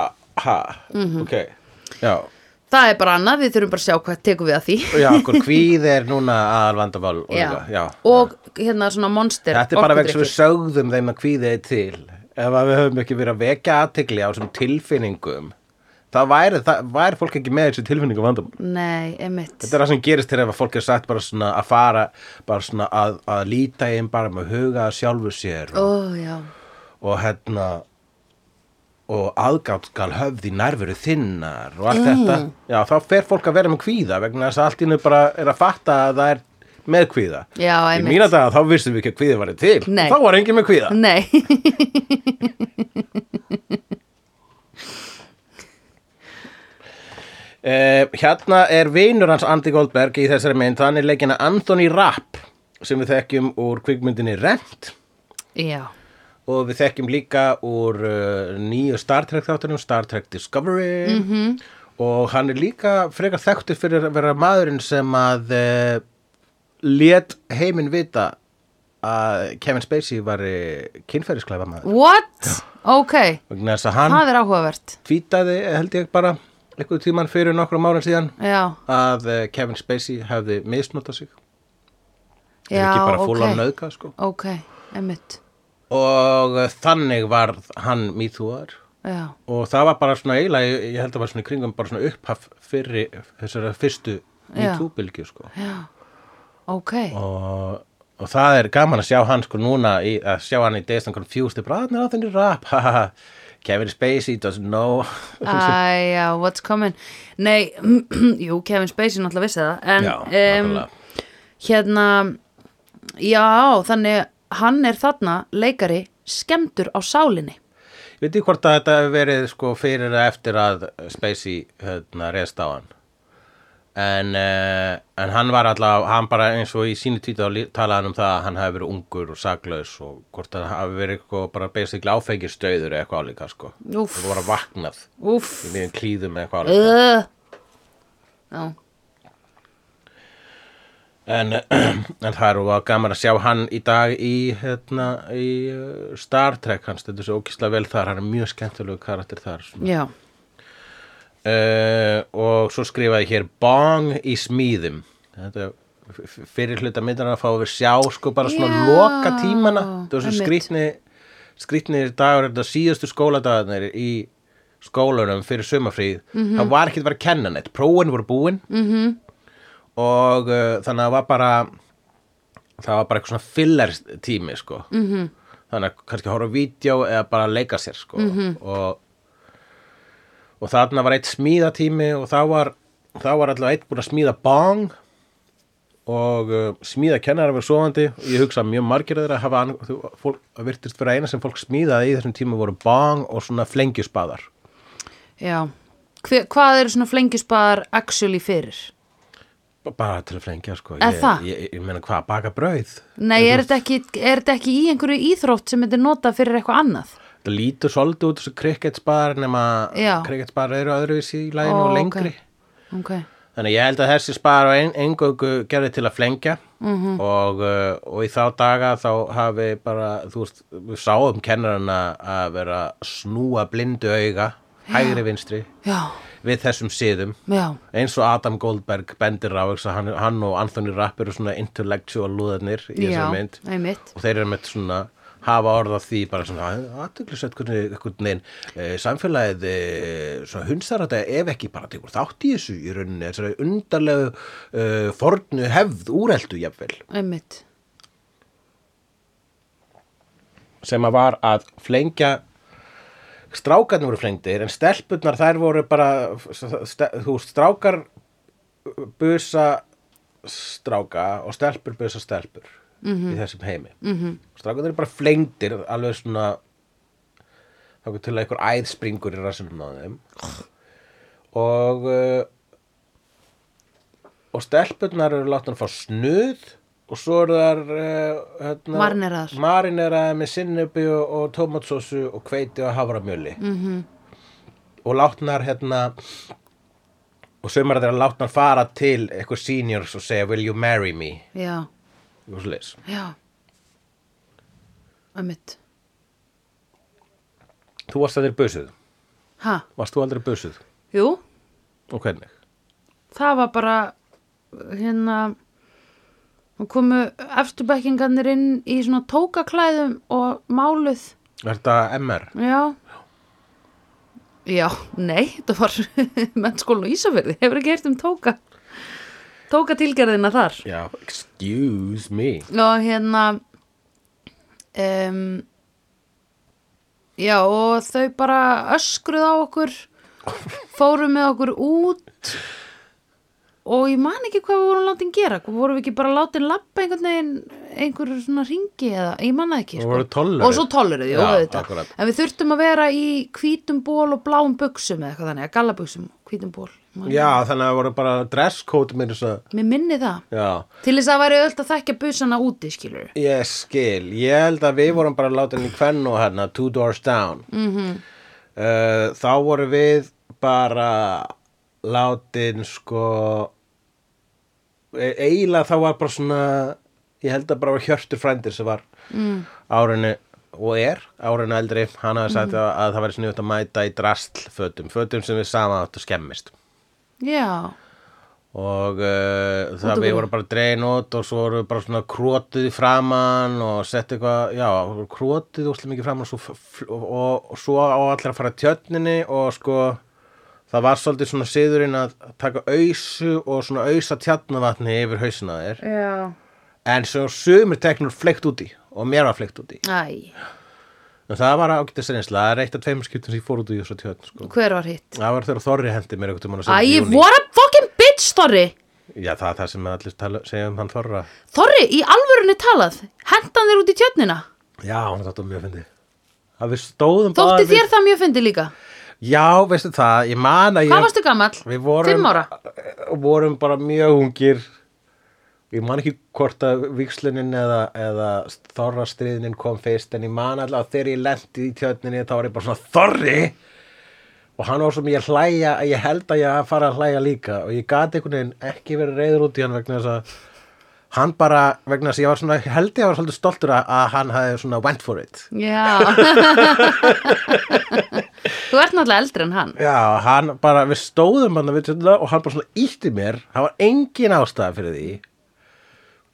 S2: ha,
S1: Mhm.
S2: ok. Já,
S1: það er bara annað, við þurfum bara að sjá hvað tekum við að því
S2: já, okkur kvíð er núna aðal vandavál og
S1: já.
S2: líka, já.
S1: og hérna svona monster
S2: Þetta er bara vegna sem við
S1: orkudrykki.
S2: sögðum þeim að kvíðið er til ef að við höfum ekki verið að vekja aðtegli á þessum tilfinningum þá væri, það, væri fólk ekki með þessu tilfinningum vandamál
S1: nei, emitt
S2: Þetta er það sem gerist þegar ef að fólk er sagt bara svona að fara, bara svona að, að líta einn bara með huga að sjálfu sér
S1: ó,
S2: og,
S1: já,
S2: og hérna og aðgátt skal höfð í nærveru þinnar og
S1: Mm.
S2: allt þetta já, þá fer fólk að vera með kvíða vegna þess að allt innu bara er að fatta að það er með kvíða
S1: Já,
S2: í
S1: einmitt.
S2: mína daga þá vissum við ekki að kvíði var til
S1: Nei. Mm.
S2: þá var engin með kvíða
S1: nei
S2: Uh, hérna er vinur hans Andy Goldberg í þessari mynd, hann er leikina Anthony Rapp sem við þekkjum úr kvikmyndinni Rent
S1: já
S2: og við þekkjum líka úr uh, nýju Star Trek þáttunum, Star Trek Discovery -hmm.
S1: Mhm.
S2: og hann er líka frekar þekktur fyrir að vera maðurinn sem að uh, let heiminn vita að Kevin Spacey var kynferðisklæfa maður
S1: What? Ok,
S2: vegna þess að hann
S1: það er áhugavert
S2: tvítaði held ég bara einhver tíman fyrir nokkrum árum síðan
S1: Já,
S2: að eh, Kevin Spacey hefði misnotað sig en
S1: já,
S2: ekki bara
S1: ok
S2: fúl á nöðka sko.
S1: Ok, emmitt
S2: og eh, þannig var hann mýþúar
S1: Já,
S2: og það var bara svona eiginlega, ég- ég held að var svona í kringum bara svona upphaf fyrir þessara fyrstu
S1: Já.
S2: mýþúbylgju sko.
S1: ok
S2: og, og það er gaman að sjá hann sko núna í, að sjá hann í Days and Confused bara hann er á þenni rap ha, ha, ha. Kevin Spacey doesn't know
S1: Æja, what's coming Nei, jú, Kevin Spacey náttúrulega vissi það En,
S2: Já,
S1: em,
S2: náttúrulega.
S1: hérna Já, þannig hann er þarna leikari skemmtur á sálinni
S2: Ég veit ekki hvort að þetta hefur verið sko fyrir eða eftir að Spacey hérna reyðst á hann en, uh, en hann var allavega, hann bara eins og í sínu títa talaði hann um það að hann hafi verið ungur og saklaus og hvort að hann hafi verið eitthvað bara basically áfengistöður eða eitthvað álíka sko
S1: Úff.
S2: það var að vaknað
S1: Úff
S2: í miðjum klíðum eða eitthvað álíka
S1: uh. Já,
S2: en, en það er og gaman að sjá hann í dag í, hérna, í eh, Star Trek hans, þetta er svo ókíslega vel þar hann er mjög skemmtilegu karakter þar svona
S1: já,
S2: uh, og svo skrifaði hér bong í smíðum þetta f- f- fyrir hluta myndarna fáum við sjá sko bara svona
S1: Já,
S2: loka tímana það var svo
S1: einmitt.
S2: skrýtni skrýtni dagur þetta síðustu skóladagarnir í
S1: Mhm.
S2: skólanum fyrir sumafríð það var ekkert verið að kenna neitt prófin voru búin -hmm. og uh, þannig að það var bara það var bara eitthvað svona filler tími sko
S1: Mhm.
S2: -hmm. þannig að kannski horfa á vídeo eða bara leika sér sko
S1: Mhm.
S2: -hmm. og, og þarna var eitt smíðatími og þá var, þá var allavega eitt búin að smíða bong og uh, smíða kennar að vera svoandi ég hugsa að mjög margir þeirra hafa ann- þú, fólk, að virtist vera eina sem fólk smíðaði í þessum tíma voru bong og svona flengjusbaðar
S1: Já. Hver, hvað eru svona flengjusbaðar actually fyrir?
S2: B- bara til að flengja sko
S1: Er
S2: ég,
S1: það?
S2: ég, ég, meina hvað, baka brauð
S1: Nei, er þetta ekki, er þetta ekki í einhverju íþrótt sem þetta er notað fyrir eitthvað annað?
S2: það lítur svolítið út þessu cricketsbar nema
S1: Já.
S2: cricketsbar eru öðruvísi í læginu
S1: Ó,
S2: og lengri
S1: Ok,
S2: þannig að ég held að þessi spar og ein, eingöngu gerði til að flengja -hmm. og, uh, og í þá daga þá hafi bara, þú veist, við sáum kennarana að vera að snúa blindu auga, hægri vinstri
S1: já,
S2: við þessum siðum
S1: já,
S2: eins og Adam Goldberg bendir á þess að hann, hann og Anthony Rapp eru svona intellectual lúðarnir í
S1: já,
S2: þessum mynd
S1: einmitt.
S2: og þeir eru með svona hafa orða því bara svona aðtöklusett hvernig einhvern veginn e, samfélagið e, svona hunsar þetta ef ekki bara tekur þátt í þessu í rauninni þessari undarlegu e, fornu hefð úreldu jafnvel
S1: Einmitt.
S2: sem að var að flengja strákarnir voru flengdir en stelpurnar þær voru bara ste, þú veist, strákar busa stráka og stelpur busa stelpur í þessum heimi mm -hmm. strákarnir eru bara flengdir alveg svona þá til að einhver æð springur í rassinum á þeim og uh, og stelpurnar eru látnar að fá snuð og svo eru þar uh, hérna,
S1: Marineraðar.
S2: marineraðar með sinnubi og, og tómatsósu og hveiti og haframjöli mm -hmm. og látnar hérna og sömur þeirra látnar fara til eitthvað seniors og segja will you marry me
S1: Já,
S2: og svoleiðis.
S1: já. Einmitt.
S2: þú varst aldrei busuð
S1: Ha,
S2: varst þú aldrei busuð
S1: jú,
S2: og hvernig
S1: það var bara, hérna, hún komu eftirbækingarnir inn í svona tókaklæðum og máluð,
S2: er þetta MR
S1: já. Já, nei, þetta var mennskólan á Ísafjörði, hefur ekki heyrt um tóka, tóka tilgerðina þar.
S2: já excuse me
S1: og hérna um, já og þau bara öskruð á okkur fóru með okkur út og ég man ekki hvað við vorum látin gera vorum við ekki bara látin lappa einhvern veginn einhverjur svona ringi eða, ég man það ekki sko.
S2: Og voru tolerate.
S1: og svo tollurðu, jú,
S2: Já,
S1: auðvitað
S2: akkurat.
S1: en við þurftum að vera í hvítum ból og bláum buxum eða eitthvað þannig, að gallabuxum, hvítum ból Man-
S2: já þannig að það voru bara dresscode með þess að
S1: mér minni það
S2: já
S1: til þess að það væri öll að þekkja busana úti, skilur
S2: Ég skil, ég held að við vorum bara látin í kvennu hérna, Two Doors Down mm Þá vorum við bara látin sko e- eiginlega þá var bara svona ég held að bara var Hjörtur frændir sem var mm. árinu og er árinu eldri, hann hafði sagt að, að það væri sniðut að mæta í drastl fötum fötum sem við sama áttu skemmist
S1: já,
S2: og uh,
S1: Út
S2: það
S1: og
S2: við
S1: grú.
S2: vorum bara dregin út og svo vorum við bara svona krótið í framann og sett eitthvað, já, krótið úslega mikið framann og svo, f- f- og, og, og svo á allir að fara tjörninni og sko það var svolítið svona siðurinn að taka ausu og svona ausa tjarnavatni yfir hausina á þér
S1: já
S2: en svo sumir teknur fleikt út í og mér var fleikt út í
S1: Æ,
S2: en það var ágættis reynsla, það er eitt af tveimur skiptum sem ég fór út í þessu tjörn sko.
S1: hver var hitt?
S2: það var þegar Þorri hendi mér einhvern tímann á
S1: Æ,
S2: seinni júní.
S1: what a fucking bitch, Þorri
S2: já, það er það sem allir tala, segja um hann Þorra
S1: Þorri, í alvörunni talað Hentan þér út í tjörnina
S2: Já, hann þátti mjög fyndi að við stóðum bara
S1: Þótti
S2: við...
S1: þér það mjög fyndi líka
S2: Já, veistu það, ég man að ég
S1: Hvað varstu gamall?
S2: Við vorum,
S1: Fimm ára
S2: vorum bara mjög ungir Ég man ekki hvort að vikslunin eða, eða þorrastriðnin kom fyrst en ég man alltaf að þegar ég lendi í tjörninni þá var ég bara svona þorri og hann var svo mér hlæja að ég held að ég að fara að hlæja líka og ég gat einhvern veginn ekki verið reyður út í hann vegna þess að hann bara, vegna þess að ég var svona held ég að var svolítið stoltur að, að hann hafði svona went for it
S1: Já Þú ert náttúrulega eldri en hann
S2: Já, hann bara, við stóðum hann við tjönda og hann bara svona ítti mér það var engin ástæða fyrir því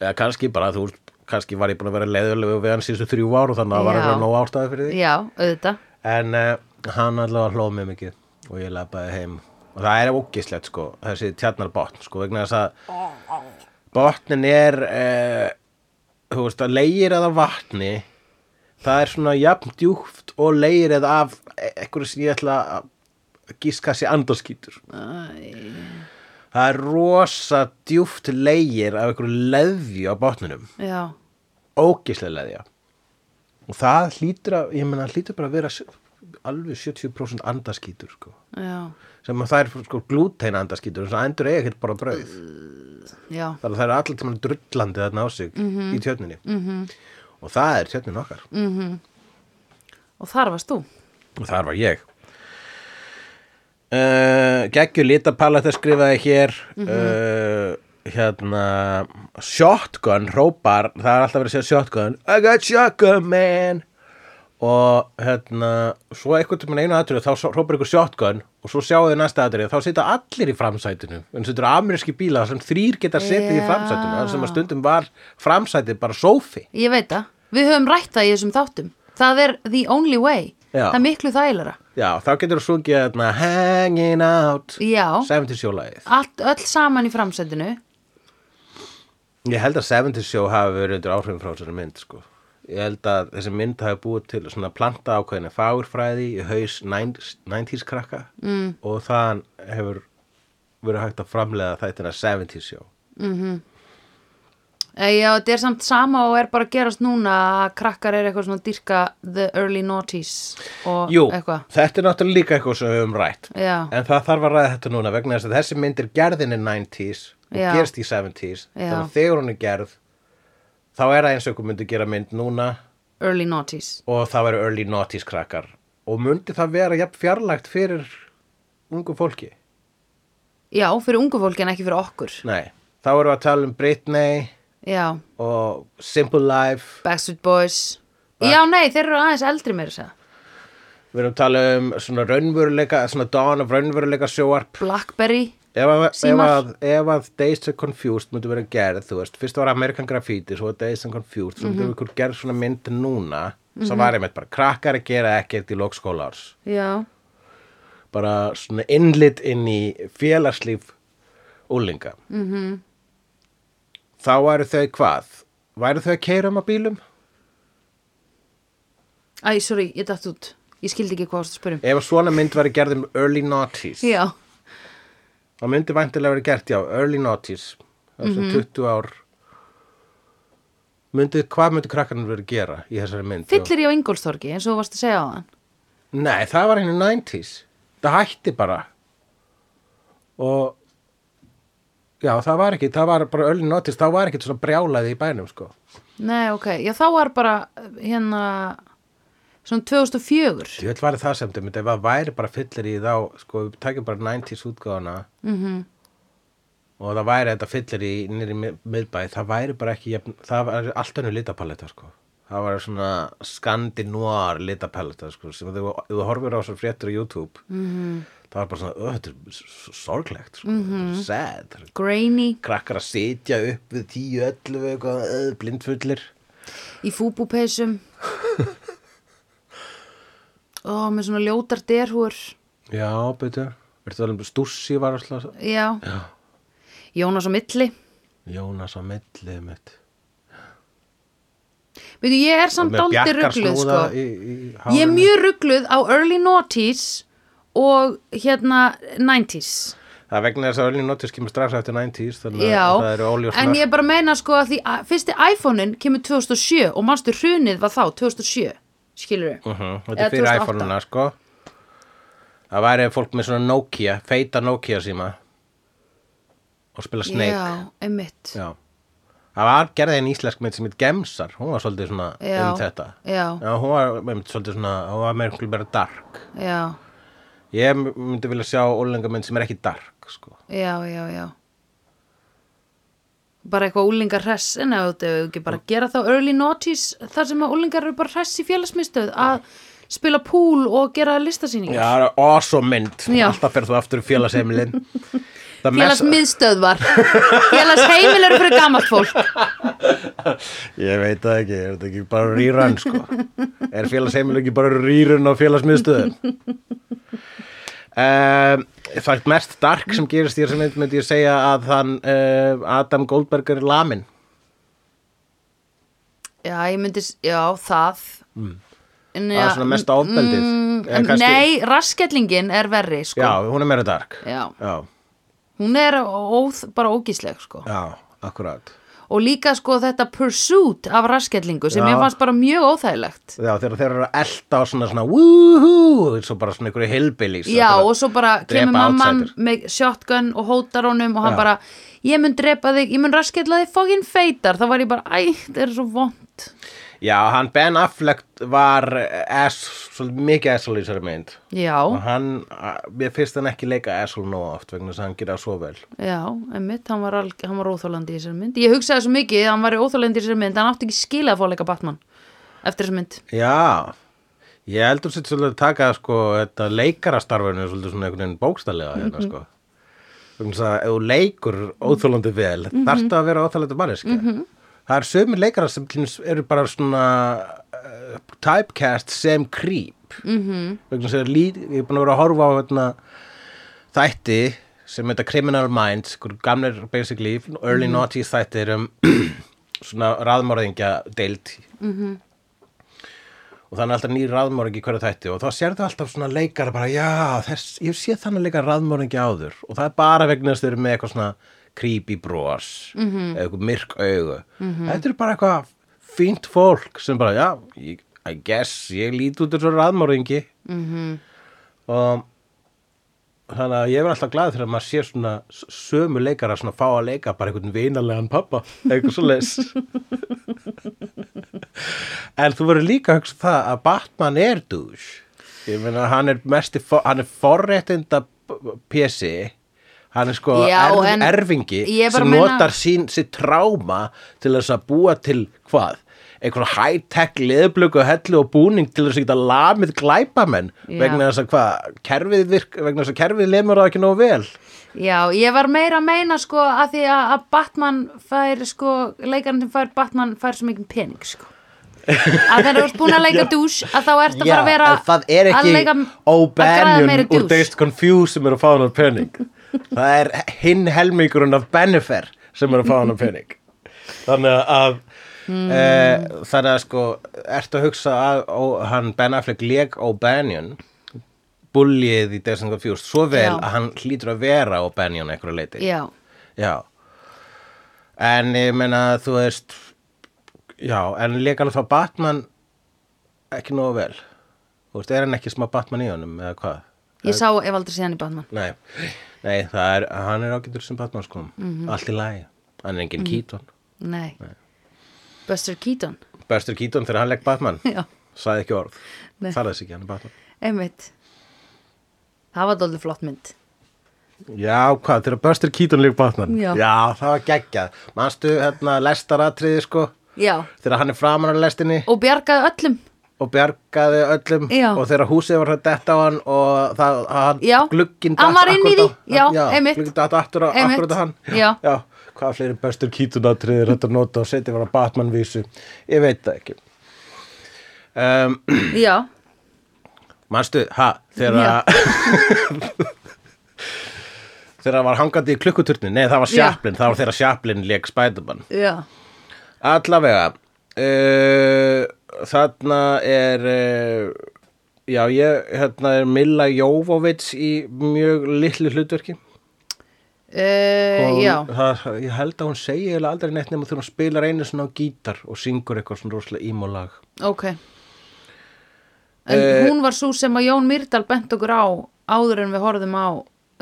S2: eða kannski bara, þú veist kannski var ég búin að vera leiðulegu við hann síðustu þrjú ár og þannig að það var
S1: Já.
S2: eitthvað nóg ástæða fyrir því
S1: Já, auðvitað
S2: eh, en uh, hann allavega hlóð mér mikið og ég labbaði heim og það er ógislegt sko þessi tjarnar botn sko vegna þess að botnin er eh, þú veist að leir eða vatni það er svona jafn djúft og leir eða af e- einhverju sem ég ætla að gíska sér andarskítur
S1: Æ,
S2: það er rosa djúft leir af einhverju leðju á botninum
S1: já,
S2: ógislega leðja og það hlýtur að, ég meina, hlýtur bara að vera s- alveg 70% andaskítur sko.
S1: já,
S2: sem að það er sko glútein andaskítur þess að endur eiga ekkert bara brauð
S1: já,
S2: þannig að það er allir tímann drullandi þarna á sig í tjörninni -hmm. og það er tjörnin okkar
S1: og þar varst þú.
S2: og þar var ég uh, geggjur litapaletta skrifaði hér
S1: Mhm.
S2: uh, hérna shotgun hrópar það er alltaf verið að segja shotgun I got shotgun man og hérna svo eitthvað til einu aðtrið þá svo- hrópar ykkur shotgun og svo sjáu þið næsta aðtrið þá sita allir í framsætinu en þetta eru ameríski bíla sem þrýr geta setið í
S1: Já.
S2: framsætinu þar sem að stundum var framsætið bara sófi
S1: Ég veit það. Við höfum rætt það í þessum þáttum. Það er the only way.
S2: Já.
S1: Það er miklu þægilega.
S2: já þá getur þú sungið hérna, hanging out
S1: Já,
S2: 70 sjólaðið
S1: allt, öll saman í framsætinu.
S2: Ég held að 70 Show hafi verið undir áhrifin frá þessari mynd sko. Ég held að þessi mynd hafi búið til svona planta ákveðinu fagurfræði í haus 90s 90s krakka mm. og þaðan hefur verið hægt að framlega þættina 70 Show.
S1: Eh, Já, þetta er samt sama og er bara að gerast núna að krakkar er eitthvað svona að dýrka the early noughties og
S2: Jú,
S1: eitthvað.
S2: þetta er náttúrulega líka eitthvað sem við höfum rætt.
S1: Já,
S2: En það þarf að ræða þetta núna vegna þess að þessi mynd er gerðin í 90s og
S1: Já.
S2: gerst í 70s.
S1: Já.
S2: Þannig að þegar hún er gerð þá er það eins og ykkur myndi gera mynd núna
S1: early noughties.
S2: og það væri early noughties krakkar og myndi það vera jafn fjarlægt fyrir ungu fólki
S1: Já, fyrir ungu fólki en ekki fyrir okkur.
S2: nei, þá erum við að tala um Britney
S1: Já,
S2: og Simple Life
S1: Backstreet Boys. Já, nei, þeir eru aðeins eldri meira þess að.
S2: við erum að tala um svona raunveruleika svona Dawn of raunveruleika sjóarp
S1: Blackberry.
S2: ef að, ef,
S1: Símar.
S2: að, ef að Days are Confused myndi vera gerð, þú veist, fyrst var American Graffiti svo var Days are Confused, svo myndi mm ykkur gerð svona mynd núna, svo var ég með bara krakkar að gera ekkert í lokskólaárs
S1: Já,
S2: bara svona innlit inn í félagslíf úlinga mm -hmm. þá væru þau hvað? væru þau að keira um á bílum?
S1: æ, sorry, ég datt út. Ég skildi ekki hvað þú varst að spyrjum.
S2: ef svona mynd væri gerð um early noughties
S1: Já,
S2: þá myndi væntilega verið gert já, early noughties þessum 20 ár myndi, hvað myndi krakkanum verið að gera í þessari mynd?
S1: fyllir ég á Ingolstorgi eins og þú varst að segja á þann.
S2: Nei, það var henni 90s. Það hætti bara. Og já, það var ekki, það var bara öllin notis, það var ekkert svona brjálaði í bænum, sko.
S1: Nei, ok, já þá var bara hérna svona 2004.
S2: Ég vil væri það sem þau myndi, ef það væri bara fyllir í þá, sko, við tækjum bara 90s útgáðana
S1: Mhm.
S2: og það væri þetta fyllir í nýri miðbæ, það væri bara ekki, jafn, það var allt önnur litapaletta, sko. Það var svona skandinúar litapaletta, sko, sem þú, ef þú horfir á svo fréttur á YouTube, -hmm. það var bara svona, "Ö, þetta er s- sorglegt, sko, mm -hmm. sad, þetta er
S1: Grainy.
S2: krakkar að sitja upp við 10-11 eitthvað öð, blindfullir
S1: í fúbúpeysum og með svona ljótar derhúr
S2: já, betur Ertu alveg stússi var alltaf
S1: já. já Jónas á milli
S2: Jónas á millið mitt
S1: Veitu, ég er samt dálítið ruggluð sko. ég er mjög ruggluð á early noughties og hérna 90s
S2: það er vegna þess að öllin notis kemur strax eftir 90s þannig
S1: já,
S2: að það eru óljósnar
S1: en ég bara meina sko að því að fyrsti iPhone-in kemur 2007 og manstu hrunið var þá 2007 skilur við
S2: Mhm, þetta
S1: Eða
S2: er fyrir
S1: 2008.
S2: iPhone-una sko það væri fólk með svona Nokia feita Nokia síma og spila Snake
S1: já, einmitt
S2: Já. það var gerðið einn íslensk mynd sem heit Gemsar hún var svolítið svona
S1: Já.
S2: um þetta
S1: já,
S2: Já, hún var einmitt svolítið svona, hún var með einhverjum bara dark.
S1: já,
S2: Ég myndi vilja sjá ólengamynd sem er ekki dark, sko.
S1: Já, já, já. Bara eitthvað úlingar hress, en ef þú ekki bara gera þá early noughties, þar sem að úlingar eru bara hress í félagsmyndstöð að spila pool og gera
S2: Já,
S1: listasýningar.
S2: það er awesome mynd.
S1: Já.
S2: Alltaf ferð þú aftur í félagsheimilin. Það mest-
S1: Félagsmiðstöð var. Félagsheimil eru fyrir gamalt fólk.
S2: Ég veit það ekki, er þetta ekki bara rýran, sko. Er félagsheimil ekki bara rýran á félagsmiðstöðum? um, Það er mest dark sem gerist í þessu mynd myndi ég segja að þann uh, Adam Goldberg er lamin
S1: Já, ég myndi, s- já, það En,
S2: Mm. Það er
S1: já, mm,
S2: svona mesta ofbeldið, eða
S1: en,
S2: kannski-
S1: Nei, raskellingin er verri, sko
S2: Já, hún er meira dark
S1: Já.
S2: já,
S1: Hún er óð, bara ógísleg, sko
S2: já akkurát
S1: Og líka, sko, þetta pursuit af raskellingu sem
S2: Já.
S1: ég fannst bara mjög óþægilegt
S2: Já, þegar þeir eru að elta á svona svona woohoo, eins og bara svona einhverju hillbillies
S1: Já, og svo bara
S2: drepa
S1: kemur mamman
S2: outsider.
S1: með shotgun og hótar honum og hann
S2: Já.
S1: bara, ég mun drepa þig, ég mun raskella þig fókin feitar, þá var ég bara, æ, þetta er svo vond
S2: Já, hann Ben Affleck var ass, svolítið mikið asshole í þessari mynd og
S1: Já,
S2: hann, a- mér finnst hann ekki leika asshole nóg oft vegna þess að hann gera svo vel
S1: já, emmitt, hann var, alg- hann var óþólandi í þessari mynd Ég hugsaði svo mikið að hann var óþólandi í þessari mynd, hann átti ekki skilað að fá að leika Batman eftir þessari mynd
S2: Já, ég heldur sér svolítið að taka sko, þetta leikarastarfinu svolítið svona einhvern veginn bókstallega hérna sko Þannig að ef þú leikur óþólandi vel, mm þarftu að vera óþólandi manneski. Það er sömur leikarar sem til dæmis eru bara svona uh, typecast sem creep. Mm -hmm. Vegna sem lít, ég er búin að vera að horfa á hérna, þætti sem heita Criminal Minds, einhver gamlir basically, early mm noughties þættir um svona raðmörðingja deild og þannig alltaf nýr raðmóringi í hverju þætti og þá sérðu alltaf svona leikara bara já, þess, ég sé þannig leikar raðmóringi áður og það er bara vegna þess að þeir eru með eitthvað svona creepy bros -hmm. eða eitthvað myrk augu þetta eru bara eitthvað fínt fólk sem bara, já, ég, I guess ég lít út þessu raðmóringi mm -hmm. og þannig að ég verð alltaf glaðið þegar maður sér svona s- sömu leikara svona fá að leika bara einhvern vinalegan pappa eitthvað svo En þú verður líka að hugsa um það að Batman er dús. Ég meina, hann er mesti, for- hann er forréttinda PC, hann er sko
S1: Já,
S2: erf,
S1: en
S2: erfingi
S1: ég er bara
S2: sem
S1: að meina-
S2: notar sín, sín tráma til þess að búa til hvað? einhvern high-tech leðblöku hellu og búning til þess að geta lamið glæpamenn
S1: Já.
S2: vegna þess að hvað, kerfið virk, vegna þess að kerfið lemur það ekki nógu vel
S1: Já, ég var meira að meina sko að því að að Batman fær sko, leikarinn sem fær Batman fær svo mikið pening sko að þegar þú ert búin að leika dús að þá ert að fara að vera
S2: en það er
S1: að
S2: ekki
S1: að græða meiri
S2: óbenjun úr
S1: dús.
S2: Dazed Confused sem er að fá hann á pening það er hinn helmingurinn af Benefer sem er að fá hann á pening þannig að
S1: Hmm.
S2: mm. þannig að sko ertu að hugsa að ó, hann Ben Affleck leik óbenjun bullið í Dazed Confused svo vel
S1: Já.
S2: að hann hlýtur að vera óbenjun einhverju leiti
S1: Já,
S2: Já En ég meina þú veist Já, en leika alveg þá Batman ekki nógu vel Þú veist, er hann ekki smá Batman í honum eða hvað?
S1: ég sá ef aldrei síðan í Batman
S2: Nei, nei það er, hann er ágætur sem Batman sko
S1: Mhm.
S2: Allt í lagi, hann er engin Keaton
S1: Nei, Buster Keaton
S2: Bestur Keaton þegar hann legg Batman
S1: Já,
S2: Sæði ekki orð,
S1: Nei.
S2: það er þess ekki hann er Batman
S1: einmitt Það var dóldi flott mynd
S2: Já, hvað, þegar Buster Keaton leik Batman
S1: Já.
S2: það var geggjað Manstu, hérna, lestaratriði sko
S1: Já,
S2: Þegar hann er framan á lestinni
S1: og bjargaði öllum
S2: og bjargaði öllum
S1: Já.
S2: og þegar húsið var að detta á hann og það, hann,
S1: Já.
S2: glugginn
S1: Hann var inn í
S2: akkúrat
S1: því. Já, einmitt.
S2: glugginn datt akkur á
S1: Einmitt.
S2: akkurat á hann
S1: Já.
S2: hvað fleiri bestur kýtunatriðir þetta nota og setja var að Batman vísu ég veit það ekki um,
S1: Já,
S2: manstu, ha, þegar
S1: Já.
S2: að þegar það var hangandi í klukkuturni nei, það var
S1: Já.
S2: Sjaplin, það var þegar Sjaplin leik Spiderman
S1: já,
S2: Allavega uh, Þarna er uh, Já, ég hérna er Milla Jóvovits í mjög litlu hlutverki
S1: uh,
S2: Og
S1: já.
S2: það, Ég held að hún segi eiginlega aldrei neitt nema þegar hún spilar einu svona á gítar og syngur eitthvað svona rosalega ímólag
S1: Ok En hún var svo sem að Jón Myrdal bent okkur á áður en við horfðum á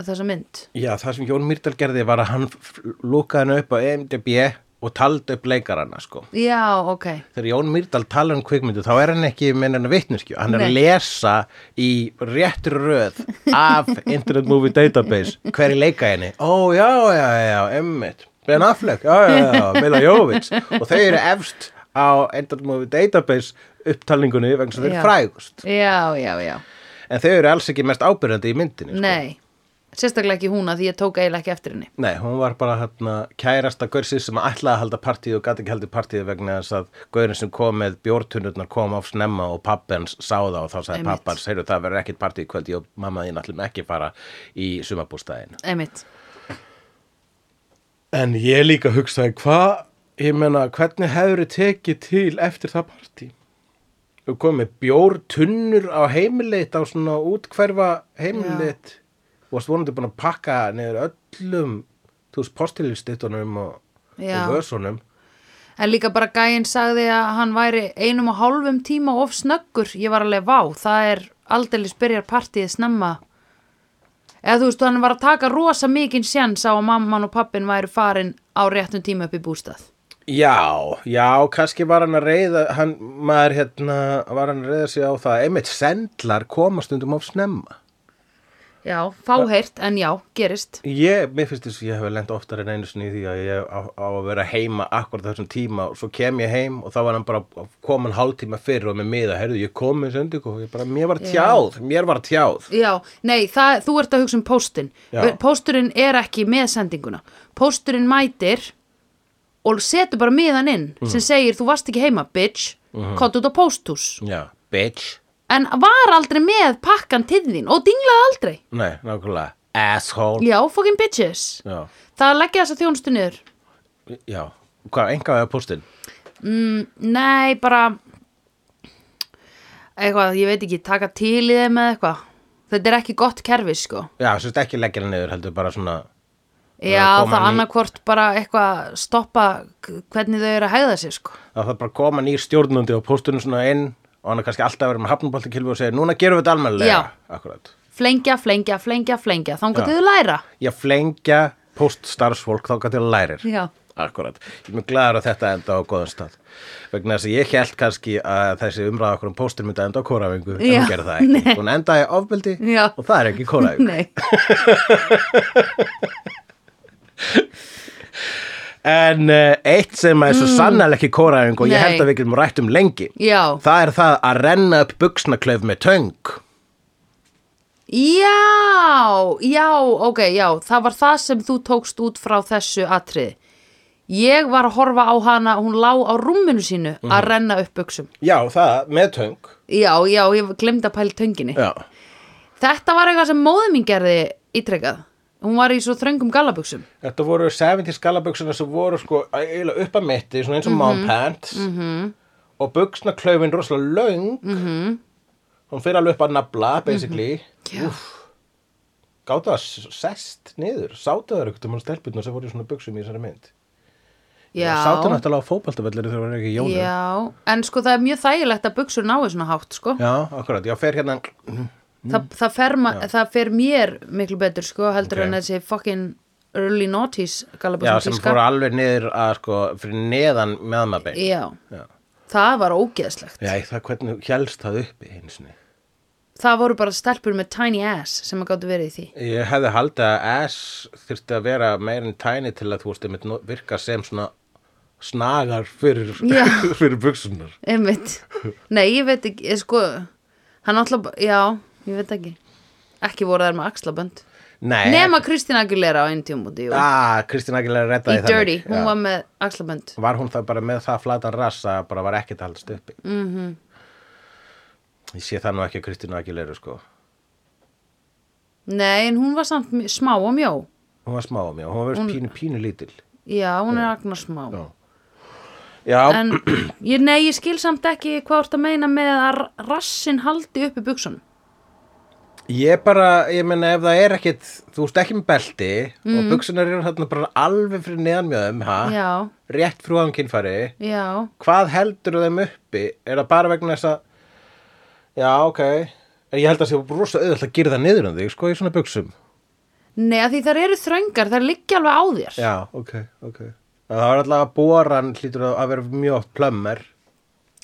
S1: þessa mynd
S2: Já, það sem Jón Myrdal gerði var að hann f- lokaði hann upp á E EMDB og taldi upp leikarana sko
S1: Já, ok
S2: þegar Jón Myrdal tala um kvikmyndu þá er hann ekki með hennar vitneskju hann er
S1: Nei.
S2: að lesa í réttur röð af Internet Movie Database hverju leika henni ó já já já, emmitt Ben Affleck, já já já, já, Mila Jovovich og þau eru efst á Internet Movie Database upptalningunni vegna sem þeir
S1: Já.
S2: frægust
S1: Já, já, já
S2: en þau eru alls ekki mest ábyrjandi í myndinni sko.
S1: Nei, sérstaklega ekki hún að því ég tók eiginlega ekki eftir henni
S2: Nei, hún var bara hérna, kærasta gaursið sem ætlaði að halda partíð og gæti ekki haldið partíð vegna þess að gaurin sem kom með bjórtunnurnar kom á snemma og pappi hans sá það og þá sagði
S1: Einmitt.
S2: pappi hans, heyrðu það verður ekkit partíð í kvöld, ég og mamma þín ætlum ekki að fara í sumabústæðin.
S1: einmitt,
S2: En ég líka hugsaði, hvað, ég meina, hvernig hefur þið tekið til eftir það partí? Þú komið með bjórtunnur á heimileitt á svona útkverfa heimileitt og varst vonandi búin að pakka niður öllum, þú veist, postilistittunum og
S1: já
S2: og vössunum
S1: en líka bara gæinn sagði að hann væri einum og hálfum tíma of snöggur ég var alveg vá, það er aldeilis byrjar partíið snemma eða þú veist, hann var að taka rosa mikinn sjans á að mamman og pappin væri farin á réttum tíma upp í bústað
S2: Já, já, kannski var hann að reyða hann, maður hérna var hann að reyða sig á það, einmitt sendlar koma stundum of snemma
S1: já, fáheirt, en já, gerist
S2: Ég, mér finnst þess að ég hef lent oftar en einu sinni í því að ég á, á að vera heima akkur þessum tíma og svo kem ég heim og þá var hann bara komin hálftíma fyrr og með miða, heyrðu, ég kom með sendingu og ég bara, mér var tjáð, mér var tjáð
S1: Já, nei, það, þú ert að hugsa um póstinn.
S2: Já.
S1: Pósturinn er ekki með sendinguna. Pósturinn mætir og setur bara miðan inn sem segir þú varst ekki heima, bitch, mm. kott út á pósthús.
S2: Já, bitch
S1: En var aldrei með pakkan til þín og dinglaði aldrei.
S2: Nei, nákvæmlega, asshole
S1: Já, fucking bitches.
S2: Já,
S1: Það leggja þessa þjónustu niður.
S2: já, hvað, enga veða póstinn?
S1: Nei, bara, eitthvað, ég veit ekki, taka til í þeim eða eitthvað. Þetta er ekki gott kerfi, sko.
S2: Já, sérst ekki leggja hann niður, heldur bara svona
S1: Já,
S2: koma
S1: það
S2: ný-
S1: annarkvort bara eitthvað stoppa k- hvernig þau eru að hegða sér, sko.
S2: þá þarf bara að koma nýr stjórnandi og póstunum svona inn og hann er kannski alltaf að vera með hafnaboltakilfi og segja núna gerum við þetta almennilega
S1: Já.
S2: Akkúrat.
S1: flengja, flengja, flengja, flengja
S2: Já.
S1: þangar til þau læra
S2: ég flengja póststarfsfólk þá gæti að lærir
S1: Já.
S2: Akkurat. Ég er mjög glæður að þetta enda á góðan stað. Vegna þess að ég held kannski að þessi umræða okkur um póstur myndi enda á kórafingu en
S1: Já.
S2: hún gerði það ekki.
S1: Nei.
S2: Hún endaði á ofbeldi
S1: Já.
S2: og það er ekki kórafingu.
S1: Nei,
S2: En uh, eitt sem er svo mm. sannlega ekki kórafingu og ég
S1: Nei.
S2: held að við getum rætt um lengi
S1: já
S2: það er það að renna upp buksnaklauf með töng.
S1: Já, já, ok, já það var það sem þú tókst út frá þessu atrið Ég var að horfa á hana, hún lá á rúminu sínu
S2: Mhm.
S1: að renna upp buksum
S2: Já, það með töng.
S1: Já, já, ég glemd að pæla tönginni
S2: Já.
S1: Þetta var eitthvað sem móðum mín gerði ítrekkað Hún var í svo þröngum gallabuxum
S2: Þetta voru 70 skallaböksuna sem voru sko eiginlega upp að mitti, svona eins og
S1: Mhm.
S2: mom pants -hmm. og buksnaklaufin rosalega löng -hmm. hún fyrir alveg upp að nafla, basically
S1: Mhm. Já.
S2: Úff. Gátu að sest niður, sátu þar ykkur um hann stelpunum sem voru í svona buksum í þessari mynd
S1: Já,
S2: Sátu náttúrulega á fótbaltavellir þegar það var ekki í jónum
S1: já En sko það er mjög þægilegt að buxur náu svona hátt, sko
S2: Já, akkurat, já, fer hérna
S1: Þa, það, fer ma, það fer mér miklu betur sko heldur
S2: Ok.
S1: en þessi fucking early noughties
S2: Já,
S1: galabúsum
S2: sem fóru alveg niður að sko fyrir neðan meðmabein
S1: Já.
S2: Já.
S1: það var ógeðslegt
S2: Já, það hvernig hélst það uppi einu sinni
S1: það voru bara stelpur með tiny ass sem að gáttu verið í því
S2: Ég hefði haldið að S þyrfti að vera meir en tæni til að þú veist einmitt no- virka sem svona snagar fyrir,
S1: Já.
S2: fyrir buksunar.
S1: einmitt, nei ég veit ekki ég, sko, hann alltaf, já ég veit ekki, ekki voru þær með axlabönd
S2: Nei.
S1: nema Kristina Aguilera á einn tímúti í
S2: Ah, Kristín Aguilera reddaði það.
S1: Dirty, hún var með axlabönd
S2: Var hún það bara með það flatan rass að bara var ekkert haldist uppi. Mm
S1: Mhm.
S2: -hmm. Ég sé það nú ekki að Kristín Aguilera sko.
S1: nei en hún var samt mj- smá og mjó
S2: Hún var smá á mér, hún var verið pínu, pínu lítil.
S1: já hún er agnar smá
S2: Já. Já,
S1: en ég, nei, ég skil samt ekki hvað þú ert að meina með að rassin haldi upp í buksunum
S2: Ég bara, ég meina ef það er ekkit, þú veist ekki með belti og buksunar eru hérna bara alveg fyrir neðanmjöðum, ha?
S1: Mm. já,
S2: Rétt frú án kynfæri.
S1: já,
S2: Hvað heldur þeim uppi? Er það bara vegna þess að, já, ok. En ég held að það sé rosa auðvitað að gyrða niður um þig, sko, í svona buksum.
S1: nei að því þær eru þröngar þær liggja alveg á þér
S2: Já, ok, ok. Það var alltaf að boran hlýtur að að vera mjög oft plömmar.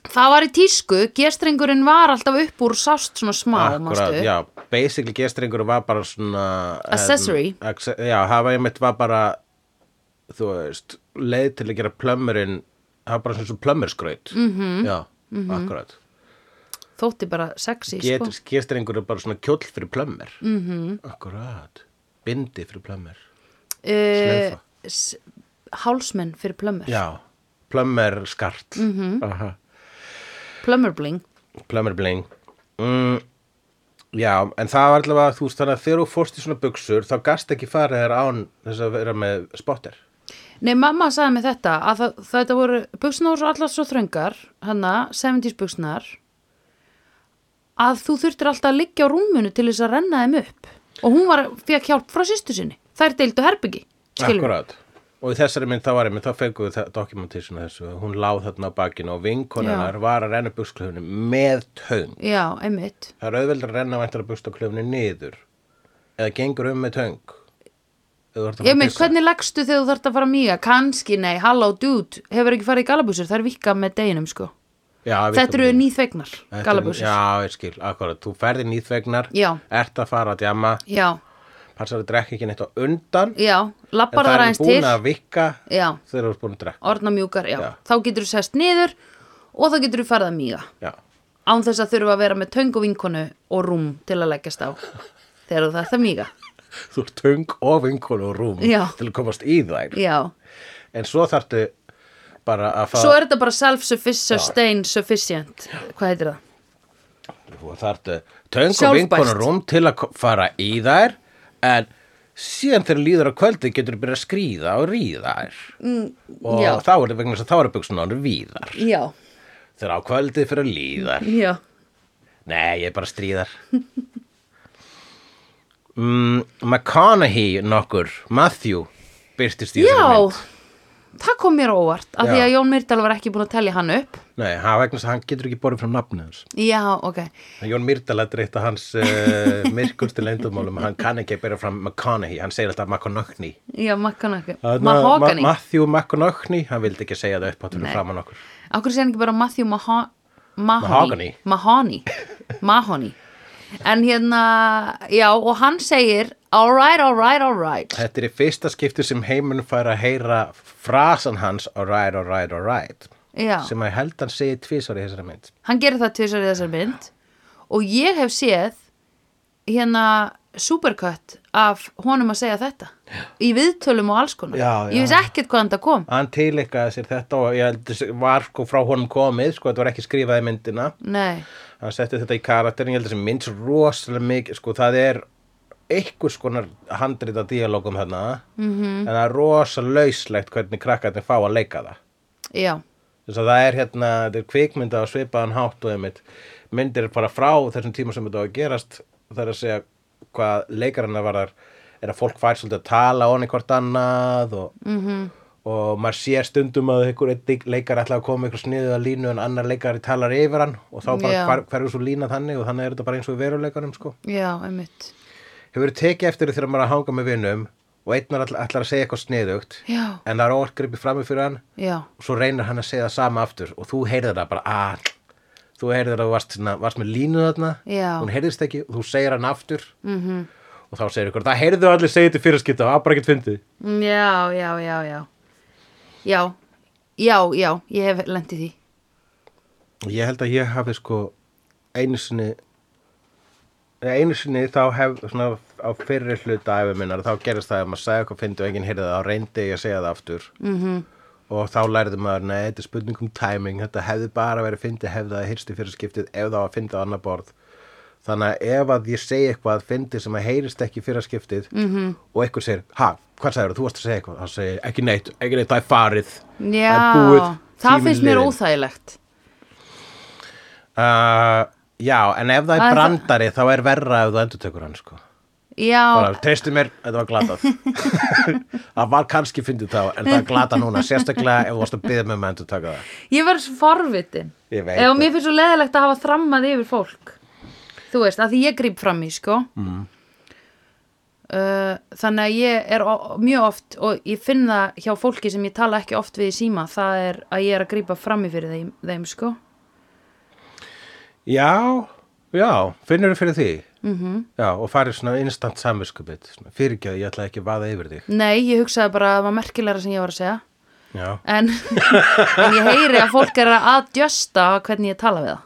S1: það var í tísku, gestrengurinn var alltaf upp úr sást svona smá manstu?
S2: já. Basically gestringur var bara svona... em,
S1: Accessory.
S2: acce- já, það var einmitt var bara, þú veist, leið til að gera plömmurinn, það var bara svona svona plömmurskraut. Mm
S1: Mhm.
S2: -hmm. Já, akkurat.
S1: þótti bara sexy
S2: Get,
S1: sko. Mhm.
S2: Gestringur er bara svona kjóll fyrir plömmur. Mm -hmm. Akkurat. bindi fyrir plömmir
S1: uh,
S2: Slaufa.
S1: s- hálsmenn fyrir plömmur
S2: já, plömmir skart
S1: Mhm.
S2: mm -hmm. aha
S1: plömmurbling
S2: Plummerbling mm, Já, en það var allavega þú veist þannig að þegar þú fórst í svona buksur þá gast ekki farið þér án þess að vera með spotter
S1: Nei, mamma sagði mig þetta að það, þetta voru buksnar voru svo allar svo þröngar hana, 70s buksnar að þú þurftir alltaf að liggja á rúmunu til þess að renna þeim upp og hún var, fekk hjálp frá sýstu sinni þær deildu herbyggi skilur við.
S2: Akkurát Og í þessari mynd þá var einmitt, þá fenguðu það- documentation af þessu hún láð þarna á bakinu og vinkonunar var að renna buksklöfunni með töng
S1: Já, einmitt
S2: Það er auðveldur að renna væntar að buksklöfunni niður eða gengur um með töng Ef þú ert að fara að
S1: Einmitt,
S2: pissa.
S1: hvernig leggstu þegar þú þarft að fara mýja? Kanski, nei, halló, dude, hefur ekki farið í galabúsur, það er vikka með deginum, sko.
S2: Já, við-
S1: Þetta eru nýþvegnar,
S2: Þetta eru-
S1: galabúsur.
S2: Já, ég skil, akkurat, þú ferði nýþvegnar
S1: Já.
S2: ert að fara að djama
S1: Já,
S2: passar að drekka ekki neitt á undan
S1: já, lappar
S2: það
S1: það
S2: er
S1: aðeins
S2: búin
S1: til,
S2: að vikka
S1: Já.
S2: þegar þú ert búin að drekka
S1: orna mjúkar, já.
S2: Já.
S1: Þá getur þú sest niður og þá getur þú farið að mýja.
S2: já,
S1: Án þess að þurfa að vera með töng og vinkonu og rúm til að leggjast á þegar þú þarft að mýja.
S2: þú ert tung og vinkonu og rúm
S1: Já.
S2: til að komast í þær
S1: Já,
S2: en svo þarftu bara að fá
S1: svo er þetta bara self-sufficient, sufficient, hvað heitir það?
S2: þú þarftu tung og
S1: Sjálfbært.
S2: vinkonu og rúm til að ko- fara í þær en síðan þegar líður á kvöldi getur þú byrjað að skrýða og ríða þær mm, og
S1: já.
S2: þá er það vegna þess að þá eru buksunar víðar
S1: Já,
S2: þegar á kvöldið fyrir að líðar
S1: já,
S2: Nei, ég er bara stríðar mm, McConaughey nokkur Matthew byrtist í þessari
S1: já.
S2: mynd
S1: Það kom mér á óvart, af
S2: Já.
S1: því að Jón Myrdal var ekki búin að telja hann upp.
S2: Nei, hann vegna þess að hann getur ekki borðið frá nafnið hans
S1: Já, ok.
S2: En Jón Myrdal þetta er eitt af hans uh, myrkustu leyndumálum hann kann ekki að byrja fram McConaughey hann segir alltaf McConaughey
S1: Já, Makanaki.
S2: Þarna,
S1: Mahogany.
S2: Ma- Matthew McConaughey, hann vildi ekki segja það upp áttur framan okkur
S1: Akkur segir hann ekki bara Matthew Maha Mahoney.
S2: Mahogany.
S1: Mahoney. Mahoney. En hérna, já, og hann segir All right, all right, all right.
S2: Þetta er í fyrsta skipti sem heiminn fær að heyra frasan hans alright, alright, alright
S1: Já,
S2: sem að ég held hann segi tvisar í þessari mynd
S1: hann gerir það tvisar í þessari mynd og ég hef séð hérna supercut af honum að segja þetta í viðtölum og alls konar
S2: Já,
S1: ég
S2: já.
S1: veist ekkert hvaðan það kom
S2: hann tilikkaði sér þetta og ég held þessi- var sko frá honum komið sko, þetta var ekki skrifað í myndina
S1: Nei,
S2: hann setti þetta í karakterin, ég held þessi mynd svo rosalega mikið, sko það er einhvers konar handrita díalógum þarna, -hmm.
S1: Mhm.
S2: en það er rosalega lauslegt hvernig krakkarnir fá að leika það
S1: já,
S2: þess að það er hérna, þetta er kvikmynda á svipaðan hátt og einmitt myndir bara frá þessum tíma sem þetta á að gerast það er að segja hvað leikarana varðar er að fólk fær svolítið að tala onni hvort annað og,
S1: Mhm.
S2: -hmm. og maður sér stundum að einhver einn leikar ætla að koma ykkur sniðu að línu en annar leikari talar yfir hann og þá bara
S1: Já.
S2: hver, hverju svo lína þannig og þannig er þetta bara eins og í veruleikanum sko
S1: já, einmitt
S2: hefur tekið eftir því þegar maður er að hanga með vinnum og einnar ætla, ætlar að segja eitthvað sniðugt
S1: Já,
S2: en það er óarkripi frammi fyrir hann
S1: já,
S2: og svo reynir hann að segja það sama aftur og þú heyrðir það bara að þú heyrðir það að þú varst, svona, varst með línu þarna
S1: Já.
S2: hún heyrðist ekki og þú segir hann aftur -hmm. og þá segir ykkur það heyrðu allir segið til fyrirskipta og það er bara ekkert fyndið
S1: Já, já, já, já Já, já, já, ég hef lendið því
S2: ég held að ég hafi sko einu sinni eða einu sinni þá hef svona á fyrri hluta æfi minnar þá gerist það að maður sagði eitthvað fyndið og enginn heyrði það þá reyndi ég að segja það aftur mm
S1: Mhm.
S2: -hmm. og þá lærði maður nei, þetta er spurning um timing þetta hefði bara verið fyndið hefði það hyrst í fyrir skiptið ef það var fyndið á annar borð þannig að ef að ég segi eitthvað fyndið sem að heyrist ekki í fyrir skiptið mm
S1: Mhm.
S2: -hmm. og einhver segir, ha, hvað sagður þú varst að segja eitthvað, þá segir, ekki neitt, ekki neitt það er farið, það er búið
S1: Já, það
S2: tíminn
S1: finnst mér
S2: liðinn."
S1: óþægilegt
S2: Uh, já, en ef það
S1: Það
S2: er
S1: er
S2: brandari þá er verra ef þú endurtekur hann sko bara,
S1: Já,
S2: treystu mér, þetta var glatað það var kannski fyndið þá en það er glatað núna, sérstaklega ef þú varst að byggja með með endurtaka það
S1: ég verð svo forvitin
S2: Ég veit
S1: Ef
S2: það.
S1: mér finnst svo leðilegt að hafa þrammað yfir fólk Þú veist, að því ég gríp fram í, sko mm. Þannig að ég er o- mjög oft og ég finn það hjá fólki sem ég tala ekki oft við í síma það er að ég er að grípa fram í fyrir þeim, þeim sko
S2: já, já, finnur þú fyrir því
S1: Mhm.
S2: -hmm. já, og farið svona instant samvinskupið, fyrirgjöð ég ætla ekki að vaða yfir þig
S1: Nei, ég hugsaði bara að það var merkilegra sem ég var að segja
S2: já,
S1: en, en ég heyri að fólk er að adjusta hvernig ég tala við það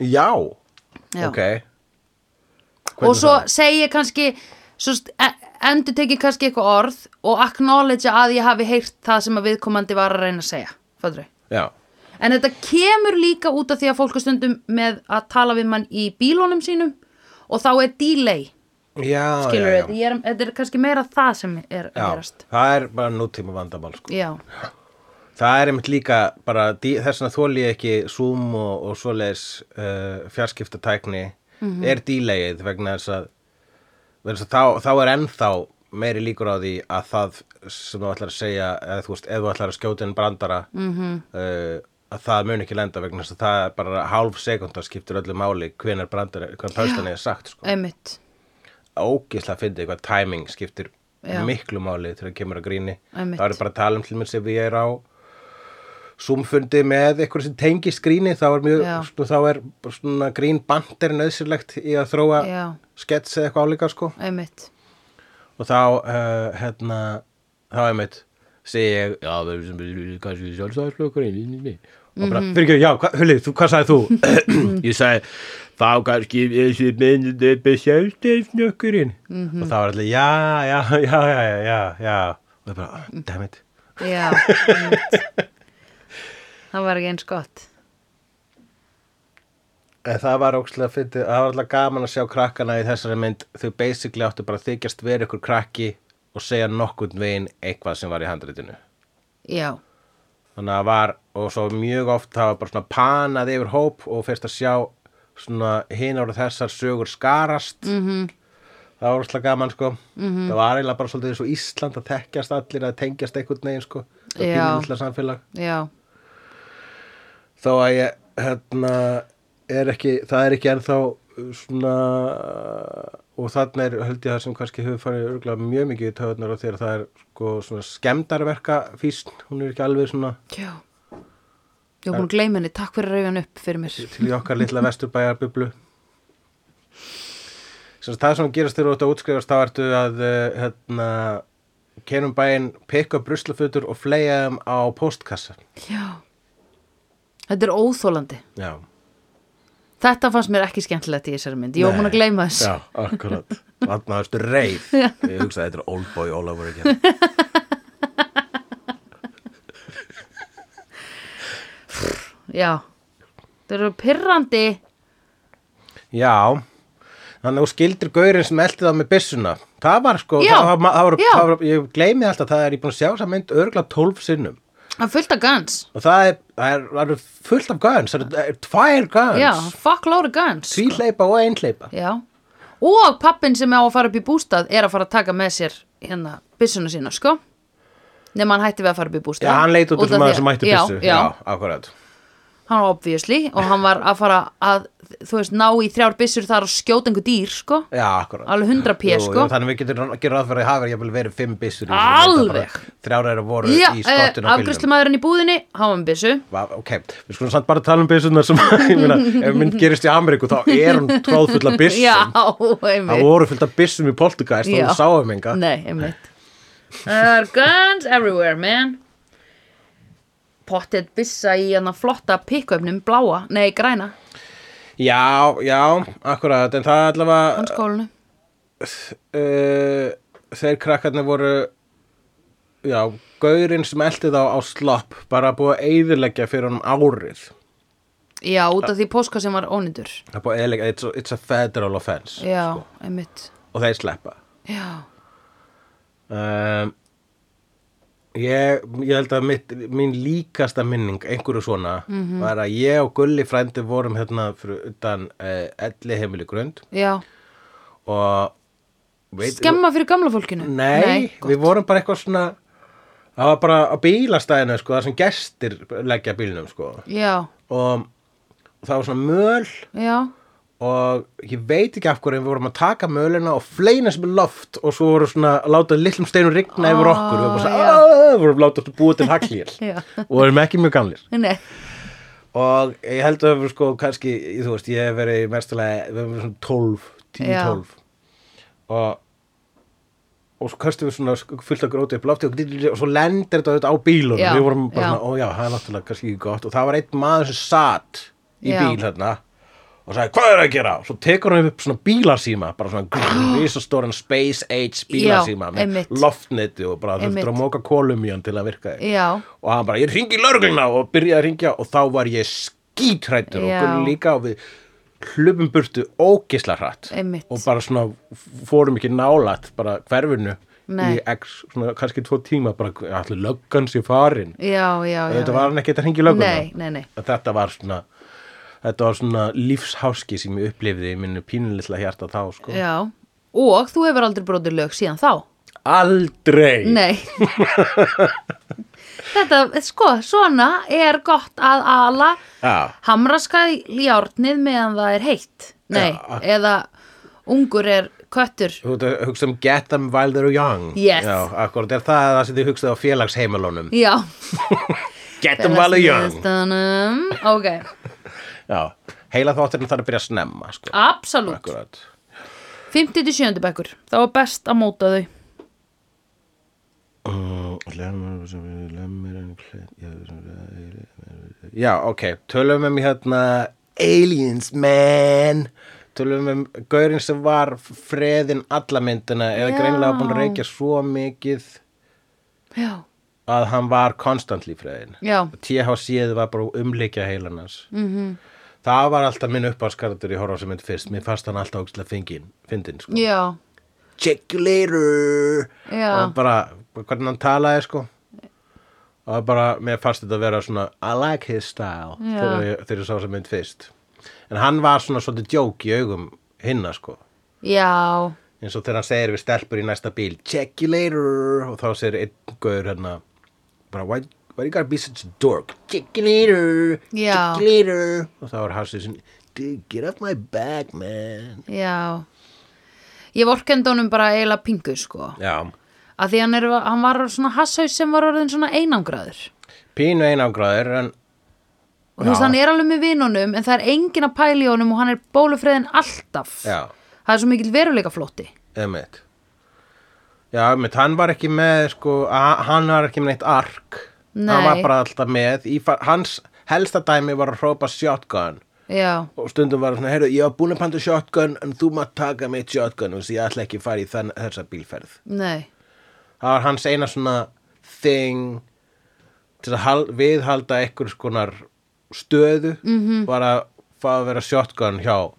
S2: já,
S1: Já.
S2: ok Hvernig
S1: og svo
S2: það?
S1: segi ég kannski svo, st- e- endur tekið kannski eitthvað orð og acknowledge að ég hafi heyrt það sem að viðkomandi var að reyna að segja Fadru.
S2: já,
S1: en þetta kemur líka út af því að fólk er stundum með að tala við mann í bílónum sínum og þá er delay
S2: já,
S1: skilur
S2: Ah, já,
S1: þetta,
S2: já.
S1: ég er, þetta er kannski meira það sem er að
S2: já
S1: gerast
S2: það er bara nútíma vandamál sko.
S1: já,
S2: það er einmitt líka bara dí- þess vegna þóli ég ekki Zoom og, og svoleiðis uh, fjarskiptatækni er dílegið vegna þess að, vegna þess að þá, þá er ennþá meiri líkur á því að það sem þú ætlar að segja eða þú veist, ef þú ætlar að skjóta inn brandara -hmm. að það mun ekki lenda vegna þess að það er bara hálf sekundar skiptir öllu máli hvenar brandara, hvenar pöstan er sagt sko.
S1: einmitt
S2: ógislega fyndið hvað timing skiptir
S1: Já.
S2: miklu máli þegar það kemur að gríni
S1: Einmitt.
S2: það eru bara að tala um til mér sem ég er á Zoom-fundi með eitthvað sem tengist gríni þá er, mjög,
S1: Já.
S2: svona, þá er bara svona grín bandir nöðsynlegt í að þróa
S1: Já.
S2: skets eða eitthvað álíka sko
S1: einmitt,
S2: og þá uh, hérna, þá einmitt segi ég, já, við erum sem kannski sjálfstæðisflokkurinn mm -hmm. og bara, fyrir ekki, já, hva, Hulli, þú, hvað sagði þú? ég sagði, þá kannski þessi myndið upp sjálfstæðisflokkurinn og þá var allir, já, já, já, já, já, já, já og það bara, oh, damn it
S1: já einmitt. það var ekki eins gott
S2: En það var ókslega fyndið, það var alltaf gaman að sjá krakkana í þessari mynd, þau basically áttu bara að þykjast verið ykkur krakki og segja nokkurn veginn eitthvað sem var í handritinu.
S1: já,
S2: þannig að það var og svo mjög oft það var bara svona panað yfir hóp og fyrst að sjá svona hinn ára þessar sögur skarast -hmm. það var úrslega gaman sko -hmm. það var eiginlega bara svolítið eins og Ísland að þekkjast allir að tengjast einhvern veginn sko það
S1: Já.
S2: er pínlega samfélag
S1: já,
S2: þó að ég hérna er ekki, það er ekki ennþá uh, svona uh, og þarna er held ég það sem kannski hefur farið örgulega mjög mikið í töðunar og þegar það er sko svona skemmdarverka físn, hún er ekki alveg svona
S1: já ég var búin að gleyma henni, takk fyrir að rauðan upp fyrir mér
S2: til í okkar litla vesturbæjarbublu sem sagt, það sem gerast þegar þú ert að útskrifast þá ertu að eh, hérna, kenum bæinn pikka upp ruslafutur og fleia þeim á postkassa
S1: já þetta er óþólandi
S2: já,
S1: Þetta fannst mér ekki skemmtilegt í þessari mynd. Ég var
S2: Nei.
S1: múin að gleyma þess.
S2: já, akkurat þarna ertu reið ég hugsaði þetta er oldboy all over again
S1: Já. Þeir eru pirrandi.
S2: já, þannig að þú skildir gaurinn sem eldi það með byssuna það var sko,
S1: Já,
S2: það, var, það, var,
S1: já.
S2: það var ég gleymi alltaf, það er ég búin að sjá þess að mynd örgla 12 sinnum
S1: Hann fullt af guns.
S2: og það er, það er, það er fullt af guns, það er, er tvær guns
S1: Já, fuck load of guns.
S2: Tvíleipa og einleipa
S1: Já. Og pappin sem á að fara upp í bústað er að fara að taka með sér hérna byssuna sína, sko. Nefn hann hætti við að fara upp í bústað.
S2: Já, hann leit út
S1: Út af
S2: um
S1: því
S2: maður sem mætti byssu
S1: Já, já.
S2: akkurat
S1: Hann var obviously og hann var að fara að, þú veist, ná í þrjár byssur þar og skjóta einhver dýr, sko.
S2: Já, akkurat
S1: Alveg 100 p,
S2: Jú,
S1: sko.
S2: jú, Þannig við getum gera ráð fyrir að hafa jafnvel verið fimm byssur í þessu,
S1: Alveg.
S2: þetta bara Þrjára eru voru
S1: Já,
S2: í
S1: eh,
S2: skottinu á bílnum
S1: afgreiðslumaðurinn í búðinni, hann var með byssu.
S2: Va, Ok, við skulum samt bara tala um byssunar sem ég meina, ef mynd gerist í Ameríku þá er hún tróð fulla byssum
S1: Já, einmitt.
S2: Það voru fullt af byssum í Poltergeist og
S1: Já.
S2: þú sáum enga
S1: Nei, einmitt Það er guns everywhere, man Pottet byssa í hann flotta pikköfnum bláa, nei græna
S2: Já, já, akkurat En það allavega
S1: hans skólinu
S2: uh, þeir krakkarnir voru já, gaurinn sem eldi þá á slopp bara búið að eyðileggja fyrir honum árið
S1: Já, út af því póska sem var ónýtur
S2: það er búið að eyðileggja, it's a, it's a federal offense sko,
S1: Já, einmitt
S2: og þeir sleppa
S1: Já,
S2: um, ég, ég held að mitt, mín líkasta minning einhverju svona var að ég og Gulli frændi vorum hérna fyrir utan uh, elli heimili grund
S1: já
S2: og veit-
S1: Skemma fyrir gamla fólkinu
S2: Nei,
S1: gott.
S2: við vorum bara eitthvað svona það var bara á bílastæðinu sko, þar sem gestir leggja bílnum sko.
S1: Já,
S2: og, og það var svona möl
S1: já
S2: og ég veit ekki af hverju en við vorum að taka mölina og fleina sem er loft og svo voru svona að láta litlum steinum rigna yfir
S1: Ah,
S2: okkur við vorum
S1: já.
S2: svona "Ah", vorum láta þetta búa til haglýr
S1: Já.
S2: og erum ekki mjög gamlir
S1: Nei,
S2: og ég held að við sko kannski, þú veist, ég hef verið mestulega, við hefum verið svona 12
S1: Já.
S2: 10-12 og og svo kastum við svona sk- fullt að gróti upp lofti og, og svo lendir þetta auðvitað á bílunum
S1: Já,
S2: við vorum bara
S1: já.
S2: svona, ó já, það er náttúrulega kannski ekki gott og það var einn maður sem satt í
S1: Já.
S2: bíl hérna og sagði hvað er að gera svo tekur hann upp svona bílasíma bara svona grrr, risastóran space age bílasíma
S1: Já,
S2: með
S1: einmitt.
S2: loftneti og bara
S1: Einmitt.
S2: þurftur að móka kolum í hann til að virka þig
S1: Já.
S2: og hann bara ég ringi í lörgluna og byrjaði að ringja og þá var ég skítrættur og
S1: Já.
S2: Gunni líka og við hlupum burtu ógisla hratt
S1: Einmitt.
S2: og bara svona f- fórum ekki nálat bara hverfinu
S1: Nei.
S2: í x, svona kannski tvo tíma bara allir löggan sér farin
S1: Já, já, já.
S2: þetta var hann ekki að ringi í lögguna
S1: Nei, nei, nei.
S2: að þetta var svona þetta var svona lífsháski sem ég upplifði í minni pínulitla hjarta þá sko.
S1: Já. Og þú hefur aldrei brotið lög síðan þá.
S2: aldrei
S1: Nei. Þetta, sko, svona er gott að ala
S2: Já.
S1: hamraska í járnið meðan það er heitt. Nei,
S2: Já.
S1: eða ungur er köttur.
S2: þú ert að hugsa um get them while they're young
S1: Yes.
S2: já, akkurat er það það sem þið hugsaði á félagsheimilunum
S1: Já.
S2: get them while they're young
S1: Stanum. Ok,
S2: já, heila þátturinn þarf að byrja að snemma
S1: Ah.
S2: sko.
S1: absolutt.
S2: akkurat
S1: 57. bekkur, þá er best að móta þau.
S2: já, ok tölum um hérna aliens man tölum um gaurinn sem var freðin alla myndina eða
S1: Já.
S2: greinilega búin að reykja svo mikið
S1: Já,
S2: að hann var konstantli freðin
S1: já,
S2: THC-ið var bara umleikja heilan hans
S1: Mhm.
S2: -hmm. það var alltaf minn uppáskaratur í horfarsmynd fyrst mér fannst hann alltaf ógstlega fengin fyndin, sko.
S1: já,
S2: check you later
S1: Já.
S2: og bara hvernig hann talaði sko og bara mér fannst þetta að vera svona I like his style
S1: Já.
S2: þegar ég, þegar ég sá þess mynd fyrst en hann var svona svolítið djók í augum hinna sko
S1: já,
S2: eins og þegar hann segir við stelpur í næsta bíl check you later og þá segir einn gaur hérna bara why, why you gotta be such a dork check you later
S1: Já.
S2: check you later og þá er Hassi sinni dude get off my back man
S1: já. Ég vorkendi honum bara eiginlega pingu, sko.
S2: já
S1: að því hann, er, hann var svona hasshaus sem var orðin svona einangraður
S2: pínu einangráður en
S1: og þú veist
S2: Já.
S1: hann er alveg með vinunum en það er engin að pæla í honum og hann er bólufreðin alltaf
S2: Já.
S1: það er svo mikill veruleika flotti
S2: Emmett Já, Emmett, hann var ekki með sko, a- hann var ekki með neitt ark
S1: Nei.
S2: Hann var bara alltaf með í, fa- Hans helsta dæmi var að hrópa shotgun
S1: já,
S2: og stundum var hann svona, heyrðu, ég var búin að panta shotgun en þú maður taka mitt shotgun og þessi ég ætla ekki að fara í þann, þessa bílferð
S1: nei,
S2: Það var hans eina svona thing til að hal, viðhalda einhvers konar stöðu -hmm. var að fá að vera shotgun hjá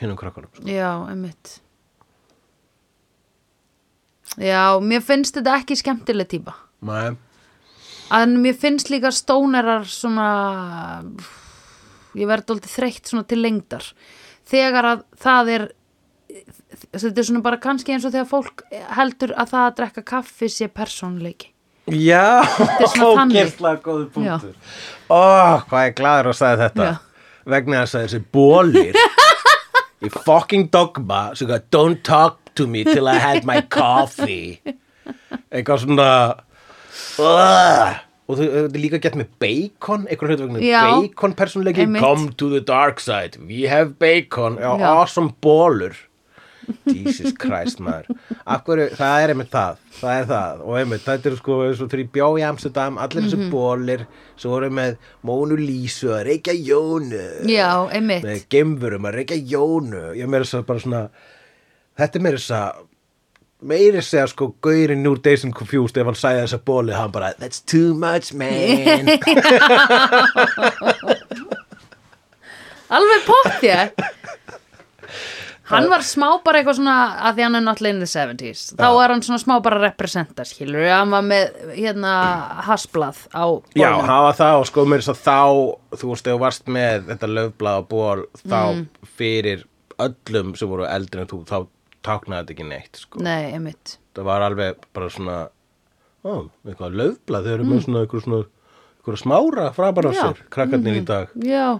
S2: hinnum krakkanum sko.
S1: já, einmitt já, mér finnst þetta ekki skemmtileg típa
S2: Nei,
S1: en mér finnst líka stónerar svona ég verði aldrei þreytt svona til lengdar þegar að það er þetta er svona bara kannski eins og þegar fólk heldur að það að drekka kaffi sé persónleiki
S2: Já,
S1: er svona þannig.
S2: ógeðslega góður punktur. Ó, hvað ég er glaður að sagði þetta. Vegna þess að þessi bólir í fucking dogma sem gaf don't talk to me till I had my coffee. Eitthvað svona uh, og þú hefur líka gett með bacon eitthvað hlut vegna
S1: Já.
S2: bacon persónleiki
S1: Einmitt.
S2: come to the dark side, we have bacon já,
S1: Já.
S2: awesome bólur Jesus Christ maður Akkur, það er einmitt það það er það og einmitt þetta er sko eins og þegar ég bjó í Amsterdam allir þessi
S1: Mhm.
S2: mm bólir svo voru með Mónu Lísu að reykja Jónu
S1: já, einmitt
S2: með gemfurum að reykja Jónu ég meira þess að bara svona þetta er meira þess að meira þess að sko gaurinn úr Days and Confused ef hann sæði þessa bóli hann bara that's too much man
S1: alveg potti hann var smá bara eitthvað svona að því hann er náttúrulega in the 70s þá er hann svona smá bara að representa skilur hann var með hérna hasblað á
S2: Já,
S1: bolnum.
S2: hafa það og sko mér svo þá þú veist, ef þú varst með þetta löfblað og ból þá fyrir öllum sem voru eldri en þú þá táknaði þetta ekki neitt sko.
S1: nei, einmitt
S2: það var alveg bara svona ó, eitthvað löfblað, þau eru með svona eitthvað svona eitthvað smára frabar á
S1: Já.
S2: sér krakkarnir í dag
S1: já,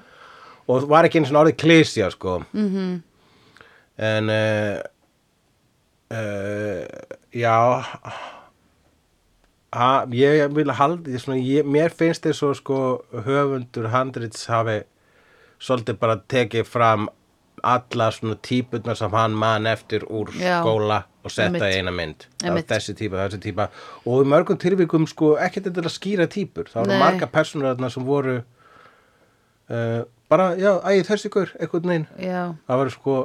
S2: og það var ekki einu svona orðið klísja sko -hmm.
S1: Mhm.
S2: en uh, uh, já ha, ég vil halda ég, svona, ég, mér finnst þér svo sko höfundur handrits hafi svolítið bara tekið fram alla svona típurnar sem hann man eftir úr
S1: Já.
S2: skóla og setta
S1: Einmitt.
S2: í eina mynd Það var
S1: Einmitt.
S2: þessi típa, þessi típa og í mörgum tilvikum sko ekkert þetta að skýra típur það voru
S1: Nei.
S2: marga persónur þarna sem voru uh, bara, já, æði þessi ykkur einhvern veginn,
S1: já,
S2: það var sko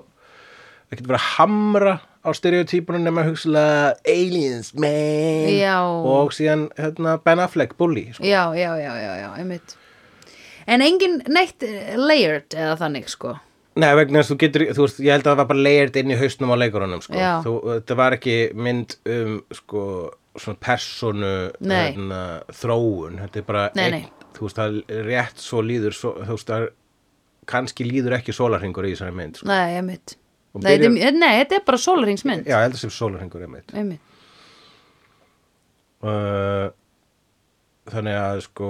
S2: ekkert verið að hamra á stereotypunum nema hugsalega aliens, man
S1: Já.
S2: og síðan hérna, Ben Affleck, bully sko.
S1: já, já, já, já, já, einmitt En engin neitt eh, layered eða þannig, sko
S2: Nei, vegna þess að þú getur, þú veist, ég held að það var bara layered inn í hausnum á leikurunum, sko.
S1: Já.
S2: Þú, þetta var ekki mynd um, sko, svona personu hérna,
S1: Nei.
S2: þróun. Þetta er bara,
S1: Nei,
S2: einn- þú veist, það er rétt svo líður, svo, þú veist, það er, kannski líður ekki sólarhingur í þessari mynd, sko.
S1: Nei, einmitt
S2: Og
S1: Nei,
S2: byrjar-
S1: þetta er- nei, þetta er bara sólringsmynd
S2: Já, ég held að sem sólarhingur er mynd.
S1: Einmitt,
S2: Uh, þannig að, sko,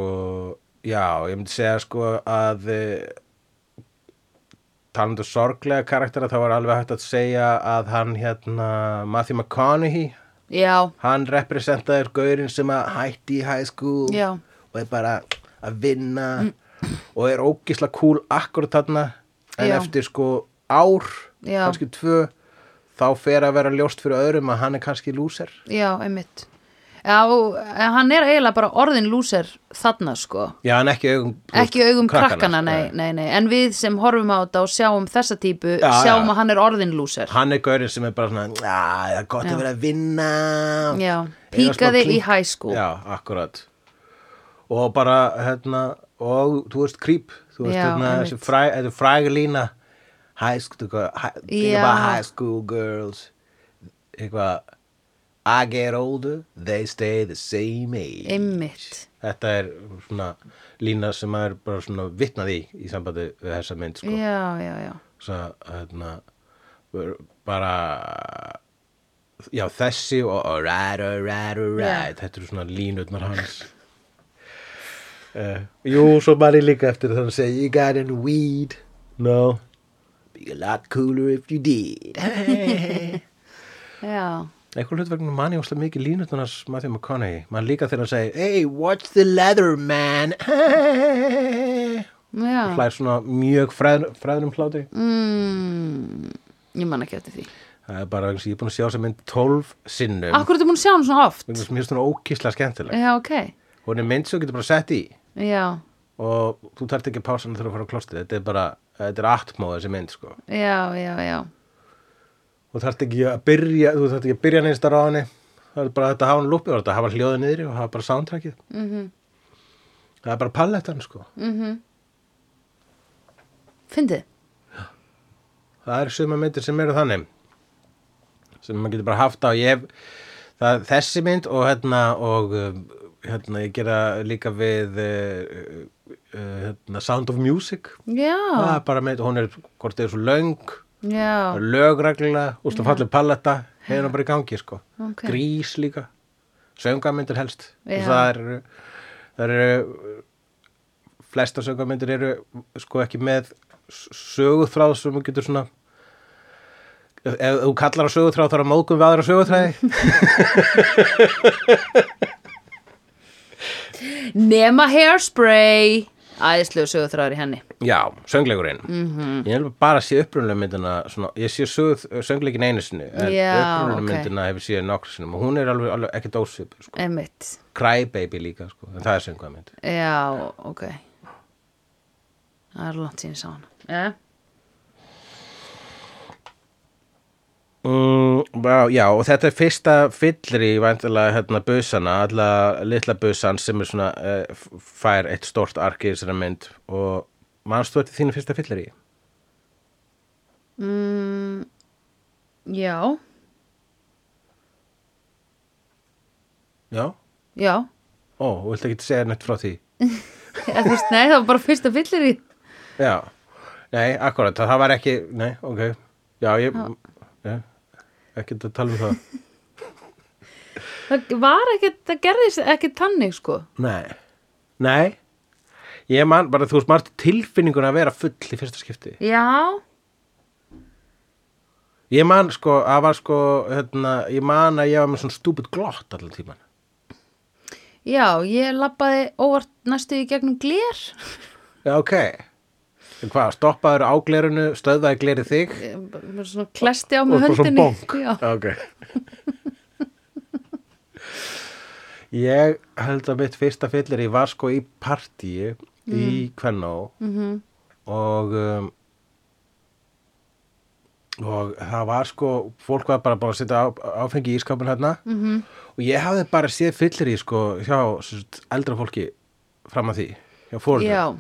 S2: já, ég myndi segja, sko, að... eh, talandu sorglega karaktera þá var alveg hægt að segja að hann hérna Matthew McConaughey
S1: já,
S2: hann representaður gaurinn sem að hætti í high school
S1: Já. Mm.
S2: og er bara að vinna og er ógisla cool akkurat þarna en
S1: Já.
S2: eftir sko ár,
S1: Já.
S2: kannski tvö þá fer að vera ljóst fyrir öðrum að hann er kannski lúser
S1: já, einmitt Já, og, en hann er eiginlega bara orðin lúser þarna, sko
S2: Já, en ekki augum,
S1: Ekki augum krakkana,
S2: eh,
S1: nei, nei, nei En við sem horfum á þetta og sjáum þessa típu
S2: Já,
S1: Sjáum
S2: já.
S1: að hann er orðinn lúser
S2: Hann er gaurinn sem er bara svona, "Ah, það er gott
S1: Já.
S2: að vera að vinna
S1: Já,
S2: Eiga smá
S1: píkaði í
S2: klink.
S1: high school
S2: Já, akkurat og bara, hérna og þú veist creep þú veist,
S1: Já,
S2: hérna,
S1: einmitt.
S2: þessi fræ, þessi fræg lína high school girl, hi, think
S1: Já.
S2: about high school girls eitthvað I get older, they stay the same age
S1: Einmitt
S2: þetta er svona lína sem maður bara svona vitnaði í, í sambandi við þessa mynd sko.
S1: Já, já, já
S2: Svo, hérna, bara já þessi og alright, alright, alright þetta eru svona línutnar hans uh, jú, svo maður er líka eftir þannig að segja you got any weed no be a lot cooler if you did
S1: Já,
S2: eitthvað hlut vegna manni óslega mikið línutnarnas Matthew McConaughey mann líka þegar hann segir hey, what's the leather man
S1: já
S2: hlær svona mjög fræð, fræðnum hláti
S1: mm, Ég man ekki eftir því
S2: það er bara eins og ég er búin að sjá sem mynd 12 sinnum
S1: Akkur ertu búin að sjá hann svona oft?
S2: Mér finnst hún ókísla skemmtileg.
S1: Já, ok
S2: Hún er mynd sem þú getur bara sett í
S1: Já,
S2: og þú þarft ekki að pása hann þegar að fara á klostið. Þetta er bara, þetta er atmóð þessi mynd sko.
S1: já, já, já
S2: Þú þarft ekki að byrja, þú þarft ekki að byrja neins þar á henni. Það er bara þetta að hafa hann lúpið og þetta að hafa hljóðið niðri og hafa bara soundtrackið.
S1: Mhm.
S2: Það er bara palettan sko.
S1: Fyndið
S2: Það eru suma myndir sem eru þannig sem maður getur bara haft á ég hef, það, þessi mynd og hérna og um, hérna ég gera líka við uh, uh, hérna, Sound of Music það
S1: Já,
S2: er bara mynd, hún er hvort þið er svo löng
S1: já,
S2: lögreglulega, úsla fallið paletta hefur hann bara í gangi sko
S1: Ok.
S2: grís líka, söngamyndir helst
S1: Já.
S2: það eru það eru flesta söngamyndir eru sko ekki með s- söguþráð sem þú getur svona ef, ef þú kallar á söguþráð þá er að móðgum við aðra söguþræði
S1: nema hairspray Æðislu sögutráður í henni
S2: já, söngleikurinn
S1: Mhm.
S2: ég hef bara að sé upprunlega myndina svona, ég sé söguð, söngleikin einu sinni en
S1: Já,
S2: upprunlega
S1: ok.
S2: myndina hefur séð nokkru sinni og hún er alveg, alveg ekki dósvip sko.
S1: Einmitt,
S2: Crybaby líka sko, en það er söngvamynd
S1: já, ok Það er langt síðan ég sá hana Já,
S2: mm, vá, Já, og þetta er fyrsta fyllir í vantilega hérna busana alla litla busan sem er svona uh, fær eitt stort ark í þessari mynd og manstu þetta þínu fyrsta fyllir í?
S1: mm, já,
S2: Já
S1: já
S2: Ó, þú vilt ekki segja neitt frá því?
S1: Eða, þú veist, Nei, það var bara fyrsta fyllir í
S2: Já, nei, akkurat, það, það var ekki, nei, ok Já, ég, já. ekki að tala um það
S1: Það var ekkert, það gerðist ekkert þannig sko
S2: Nei, nei Ég man bara, þú veist, maður tilfinningun að vera full í fyrsta skipti
S1: Já,
S2: Ég man sko, að var sko, hérna, ég man að ég var með svona stúpid glott allan tíman.
S1: já, ég labbaði óvart næstu í gegnum glér
S2: Já, ok. En hvað, stoppaður á glerinu, stöðvaði glerið þig
S1: Ég bara svona klesti á
S2: og
S1: mig
S2: bara svona
S1: höndinni
S2: bonk.
S1: já.
S2: ok. ég held að mitt fyrsta fyllir, ég var sko í partíi
S1: Mm.
S2: í Kvennó
S1: Mhm.
S2: og um, og það var sko fólk var bara bara að setja á, áfengi í ískapin hérna
S1: Mhm.
S2: -hmm. og ég hafði bara séð fyllir í sko hjá sem sagt, eldra fólki fram að því hjá fórhundum
S1: já,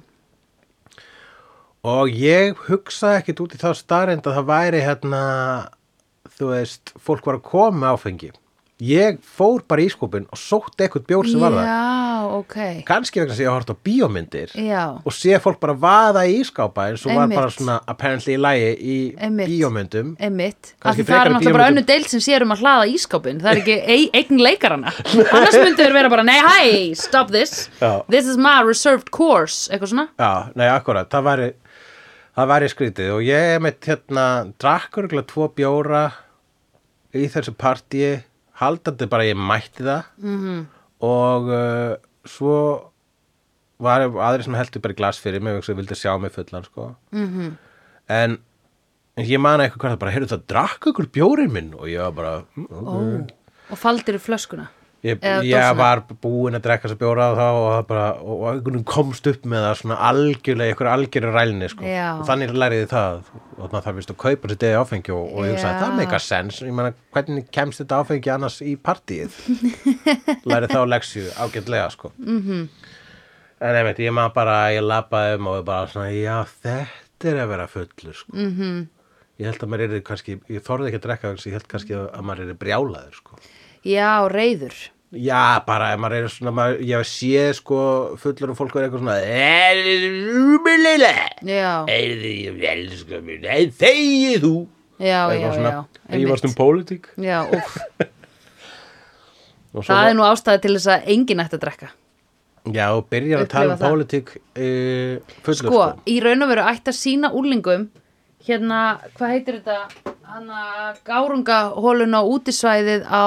S2: Og ég hugsaði ekkit út í þá starrend að það væri hérna, þú veist, fólk var að koma með áfengi. Ég fór bara í skúpin og sótti eitthvað bjór sem var það.
S1: já, ok
S2: Kanski vegna sem ég har hort á bíómyndir
S1: já,
S2: og sé fólk bara vaða í ískápa eins og var
S1: Einmitt.
S2: bara svona apparently í lægi í
S1: Einmitt.
S2: bíómyndum.
S1: einmitt af
S2: Kannski
S1: því það
S2: frekar
S1: er náttúrulega bara
S2: bíómyndum.
S1: önnu deild sem sér um að hlaða ískápin það er ekki ei- eign leikaranna annars myndu þeir vera bara, nei, hæ, stop this
S2: Já.
S1: this is my reserved course eitthvað svona,
S2: Já, nei, akkurat, það væri, það væri skrítið og ég mitt hérna drakkur ykkur tvo bjóra í þessu partíi, haldandi bara að ég mætti það -hmm. og uh, svo var aðri sem heldur bara í glas fyrir mig og sem vildi sjá mig fullan, sko. Mm -hmm. En ég man eitthvað hvað það bara, heyrðu það, drakk ykkur bjórinn minn og ég var bara, mm, ok.
S1: og faldir í flöskuna
S2: Ég,
S1: Eða
S2: ég
S1: dósina.
S2: var búinn að drekka þess að bjóra á þá og, það bara, og, og einhvern komst upp með það svona algjörlega, ykkur algjörlega rælni sko.
S1: Já.
S2: og þannig læriði það og maður þarf vist að kaupa þessi degi áfengi og, og ég sagði
S1: Já.
S2: það meika sens ég meina hvernig kemst þetta áfengi annars í partíið lærið þá leksju ágætlega sko. mm
S1: Mhm.
S2: -hmm. en einmitt ég maður bara ég labbaði um og ég bara svona já þetta er að vera fullur sko. mm -hmm.
S1: Mhm.
S2: ég held að maður er kannski ég þorði ekki að drekka vegna þess að ég held kannski að að maður er brjálaður sko.
S1: já, reyður
S2: Já, bara ef maður er svona, maður, ég hef séð sko fullur og fólk er eitthvað svona Er þið rúmulega?
S1: já,
S2: Er þið elskar mér? Nei, þegið þú?
S1: já, já,
S2: Eitthvað svona.
S1: já,
S2: Ég
S1: einmitt.
S2: varst um pólitík
S1: Já, úf,
S2: og svo
S1: það
S2: var-
S1: er nú ástæði til þess að enginn ætti að drekka.
S2: Já, og byrjar að
S1: Upplifa
S2: tala um
S1: það.
S2: pólitík uh, fullur
S1: Sko, í raun og veru ætti að sína úlingum, hérna, hvað heitir þetta, hana gárungahólun á útisvæðið á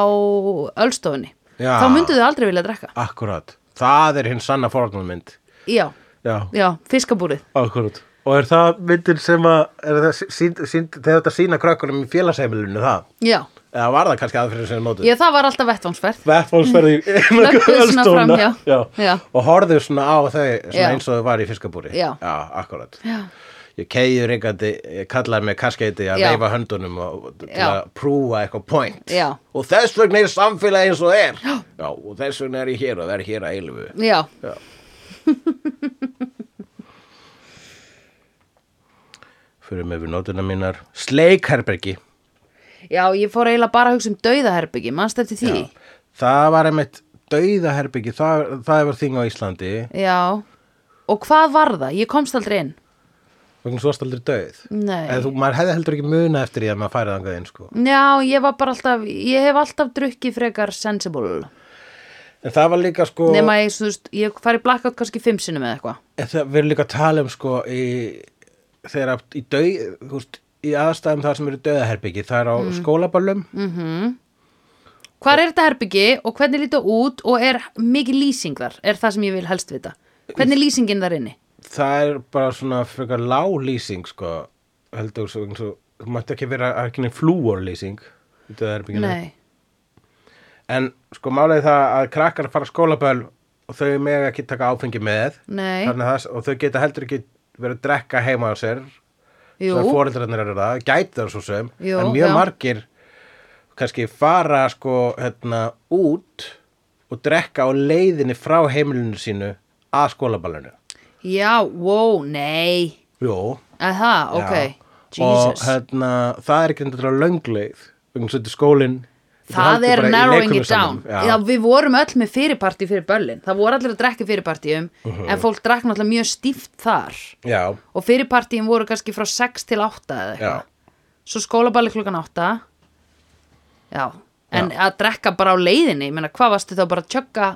S1: Ölstofunni.
S2: Já.
S1: Þá myndu þau aldrei vilja drekka.
S2: Akkurat, það er hinn sanna fornarmynd
S1: Já,
S2: Já,
S1: já, fiskabúrið.
S2: akkurat Og er það myndin sem að, er það sínd, sínd, þegar þetta sína krökkunum í félagsheimilinu það?
S1: Já,
S2: Eða var það kannski aðferðin sem mótið?
S1: ég, það var alltaf vettvánsverð.
S2: vettfólksferði
S1: Löbbuðu svona fram, já. Já.
S2: og horfðu svona á þau svona
S1: Já.
S2: eins og þau var í fiskabúri
S1: Já.
S2: já akkurat
S1: Já,
S2: ég keiður einhverjandi, ég kallaði mig kaskeiti að
S1: Já.
S2: veifa höndunum og, til
S1: Já.
S2: að prúfa eitthvað point
S1: Já.
S2: og þess vegna er samfélagi eins og það er já. og þess vegna er ég hér og það er hér að eilfu
S1: já,
S2: já fyrir mig við nótuna mínar Sleikherbergi
S1: já, ég fór eiginlega bara að hugsa um dauðaherbyggi, mannst eftir því.
S2: Já. Það var einmitt dauðaherbyggi, það, það var þing á Íslandi
S1: Já. Og hvað var það? Ég komst aldrei inn.
S2: vegna svo varst aldrei dauð
S1: Nei.
S2: eða þú, maður hefði heldur ekki muna eftir því að maður færið þangað inn sko.
S1: Já, ég var bara alltaf, ég hef alltaf drukkið frekar sensible
S2: en það var líka sko
S1: nema ég, þú veist, ég fari blackout kannski fimm sinnum eða eitthvað
S2: en Eh, það verður líka að tala um sko í, þegar að- í dauð þú veist, í aðstæðum þar sem eru dauðaherbyggi það er á
S1: Mm.
S2: skólaballum
S1: Hvar er þetta herbyggi og hvernig líta út og er mikið lýsing þar, er það sem ég vil helst vita Hvernig er lýsingin þar inni?
S2: það er bara svona frekar lálýsing sko heldur svo, eins og, þú mætti ekki vera það er ekki nefn flúorlýsing í dauðaherbygginu
S1: Nei,
S2: en sko málega það að krakkar fara á skólaball og þau mega ekki taka áfengi með
S1: nei,
S2: Þannig að það, og þau geta heldur ekki verið að drekka heima á sér
S1: jú,
S2: þegar fóreldrarnir eru það, gæti það svo sem
S1: Jú,
S2: en mjög
S1: já.
S2: margir kannski fara sko hérna út og drekka á leiðinni frá heimilinu sínu að skólaballinu
S1: já, wow, nei
S2: Jó,
S1: Að það, ok,
S2: og
S1: Jesus
S2: hérna það er ekki þetta löngleið vegna svo þetta skólinn
S1: Það
S2: heldur
S1: er
S2: bara í
S1: narrowing it down
S2: leikfimisalnum.
S1: Já. Við vorum öll með fyrirparti fyrir börlin Það voru allir að drekka fyrirpartíum
S2: Uh-huh.
S1: En fólk drakk náttúrulega mjög stíft þar
S2: Já, já,
S1: og fyrirpartíin voru kannski frá 6 til 8 eða
S2: já,
S1: eitthvað, svo skólaballi klukkan 8 já, en að drekka bara á leiðinni ég meina, hvað varstu þá bara að tjögga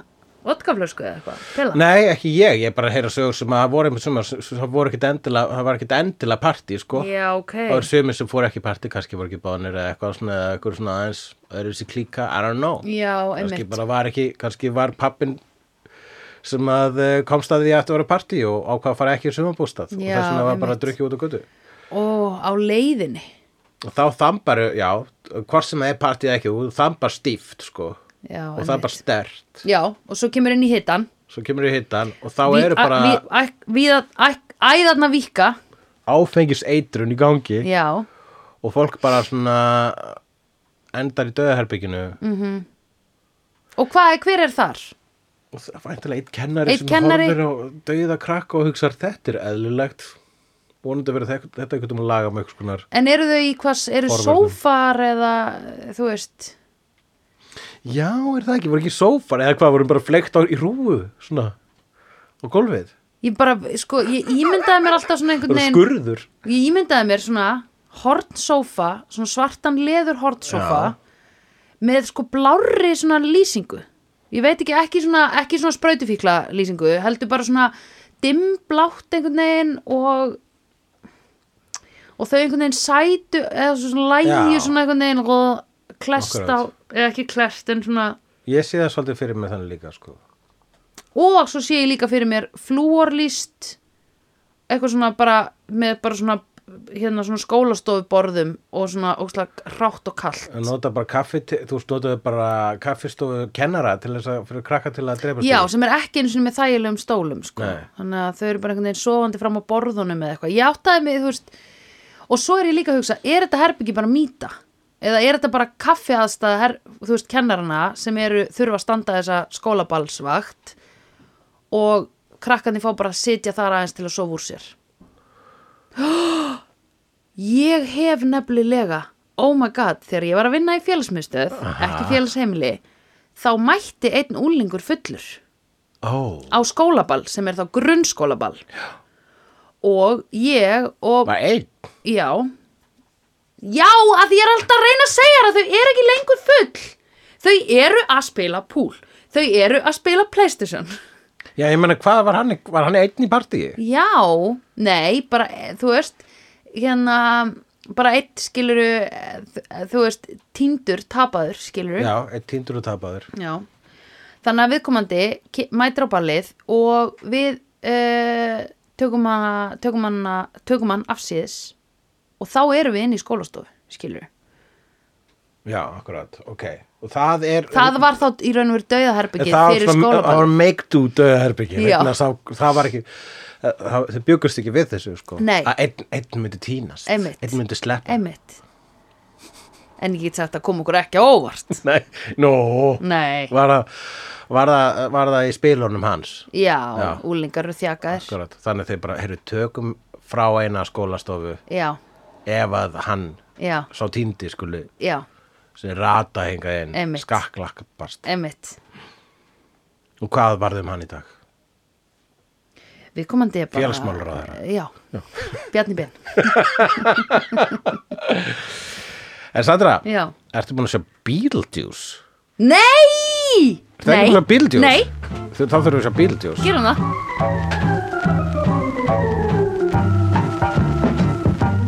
S1: vodkaflösku eða eitthvað, pela
S2: Nei, ekki ég, ég er bara að heyra sögur sem að voru, einmitt sumar sem- sem voru ekkit endilega, það var ekkit endilega partí, sko.
S1: já, ok,
S2: Það voru sömur sem fóru ekki í partí, kannski voru ekki bánir eða eitthvað svona, eða eitthvað svona aðeins, öðru sér klíka, I don't know.
S1: já,
S2: Kannski
S1: einmitt
S2: bara var ekki, kannski var pappin sem að eh, komst að því að þetta voru partí og ákvað að fara ekki í sumarbústað og
S1: Já,
S2: þess vegna var
S1: einmitt.
S2: bara að drukja út á götu.
S1: ó, á leiðinni
S2: Og þá þambaru, já, hvort sem það er partí eða ekki, þú þambar stíft, sko,
S1: já,
S2: og það er bara stert.
S1: já, og svo kemur inn í hittan
S2: svo kemur í hittan og þá
S1: Ví-
S2: eru
S1: a-
S2: bara
S1: ví- æk- víða- æk- Æðarnar vika
S2: áfengis eitrun í gangi
S1: Já,
S2: og fólk bara svona endar í döðaherbygginu
S1: og hvað er, hver er þar?
S2: og það er væntanlega eitt kennari
S1: Einn
S2: sem
S1: kennari.
S2: horfir á döða krakka og hugsar þetta er eðlilegt vonandi verið þetta, þetta einhvern veginn laga með einhvers konar
S1: En eru þau í hvað, eru
S2: Forvörnum.
S1: sófar eða, þú veist
S2: já er það ekki, voru ekki sófar eða hvað, voru bara fleikt á í rúu svona, á gólfið
S1: Ég bara, sko, ég ímyndaði mér alltaf svona einhvern
S2: voru
S1: veginn
S2: skurður
S1: Ég ímyndaði mér svona hornsófa, svona svartan leður hornsófa með sko blárri svona lýsingu Ég veit ekki, ekki svona, ekki svona sprautufíkla lýsingu, heldur bara svona dimmblátt einhvern veginn og og þau einhvern veginn sætu eða svona lægju
S2: Já.
S1: svona einhvern veginn og klest á,
S2: Akkurat.
S1: eða ekki klest en svona
S2: ég sé það svolítið fyrir mig þannig líka sko.
S1: og svo sé ég líka fyrir mér flúorlýst eitthvað svona bara með bara svona hérna svona skólastofuborðum og svona ógslag hrátt og kallt
S2: að nota bara kaffi, til- þú stótaðu bara kaffistofu kennara til þess að fyrir krakka til að drepa
S1: já, sem er ekki einu sinni með þægilegum stólum sko.
S2: Nei.
S1: þannig að þau eru bara einhvern veginn sofandi fram á borðunum eða eitthvað, ég áttaði mig þú veist, og svo er ég líka að hugsa er þetta herbyggi bara mýta eða er þetta bara kaffiaðstæða her, þú veist, kennarana sem eru, þurfa að standa þessa skólaballsvakt og krakkandi fá bara að sitja þar aðeins til að sofa úr sér ég hef nefnilega oh my god, þegar ég var að vinna í félagsmyndstöð ekki félagsheimili þá mætti einn úlingur fullur
S2: ó,
S1: á skólaball sem er þá grunnskólaball já. og ég og,
S2: bara einn
S1: já já, að ég er alltaf að reyna að segja þér að þau eru ekki lengur full þau eru að spila pool þau eru að spila Playstation
S2: já, ég meina hvað var hann, var hann einn í partíi
S1: já, nei, bara eh, þú veist, hérna bara eitt skiluru eh, þú veist, tindur, tapaður skiluru
S2: já, einn tindur og tapaður
S1: Já. Þannig að viðkomandi ke- mætir á ballið og við uh, tökum, hana, tökum, hana, tökum hann afsíðis og þá erum við inn í skólastofu, skilur við.
S2: já, akkurat, ok og það er
S1: Það var þá í raun og veru
S2: En
S1: dauðaherbyggið
S2: það var
S1: fyrir
S2: svona- það var
S1: skólaballið.
S2: make do döðaherbyggi
S1: Já.
S2: það var ekki það, þau byggust ekki við þessu sko.
S1: Nei.
S2: að einn, einn myndi týnast
S1: Einmitt.
S2: einn myndi sleppa
S1: Einmitt. En ég get sagt að koma okkur ekki á óvart.
S2: Nei, no.
S1: Nei.
S2: var, það, var, það, var það í spilunum hans
S1: Já,
S2: Já.
S1: úlingar eru þjakaðir.
S2: Akkurat. þannig að þeir bara heyrðu tökum frá eina skólastofu
S1: Já,
S2: ef að hann
S1: já,
S2: sá týndi skuli
S1: já,
S2: sem rata hinga inn
S1: Einmitt.
S2: skakklakkast
S1: einmitt.
S2: og hvað varðum hann í dag?
S1: Viðkomandi er bara...
S2: Félagsmálaráðherra.
S1: Já, Bjarni Ben.
S2: En Sandra,
S1: Já.
S2: ertu búin að sjá Beetlejuice?
S1: Nei!
S2: Ertu ekki búin að sjá Beetlejuice?
S1: Nei,
S2: Þau- Þá þurfum við að sjá Beetlejuice
S1: gerum það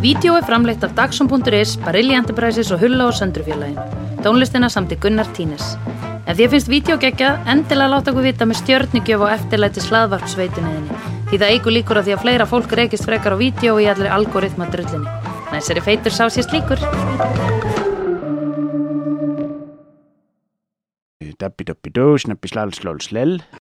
S1: Vídeó er framleitt af Dagsum.is, Barilli Enterprises og Hulla og Söndrufjörlægin. Tónlistina samt í Gunnar Tínes. Ef þér finnst vídeo geggja, endilega láta okkur vita með stjörnigjöf og eftirlæti slaðvarpsveituninni. Því það eigur líkur að því að fleira fólk reykist frekar á vídeo í allir algoritma drullinni. Næsari feitur sá sér slíkur.
S3: Dabbi dabbi dó, snabbi slal slal slel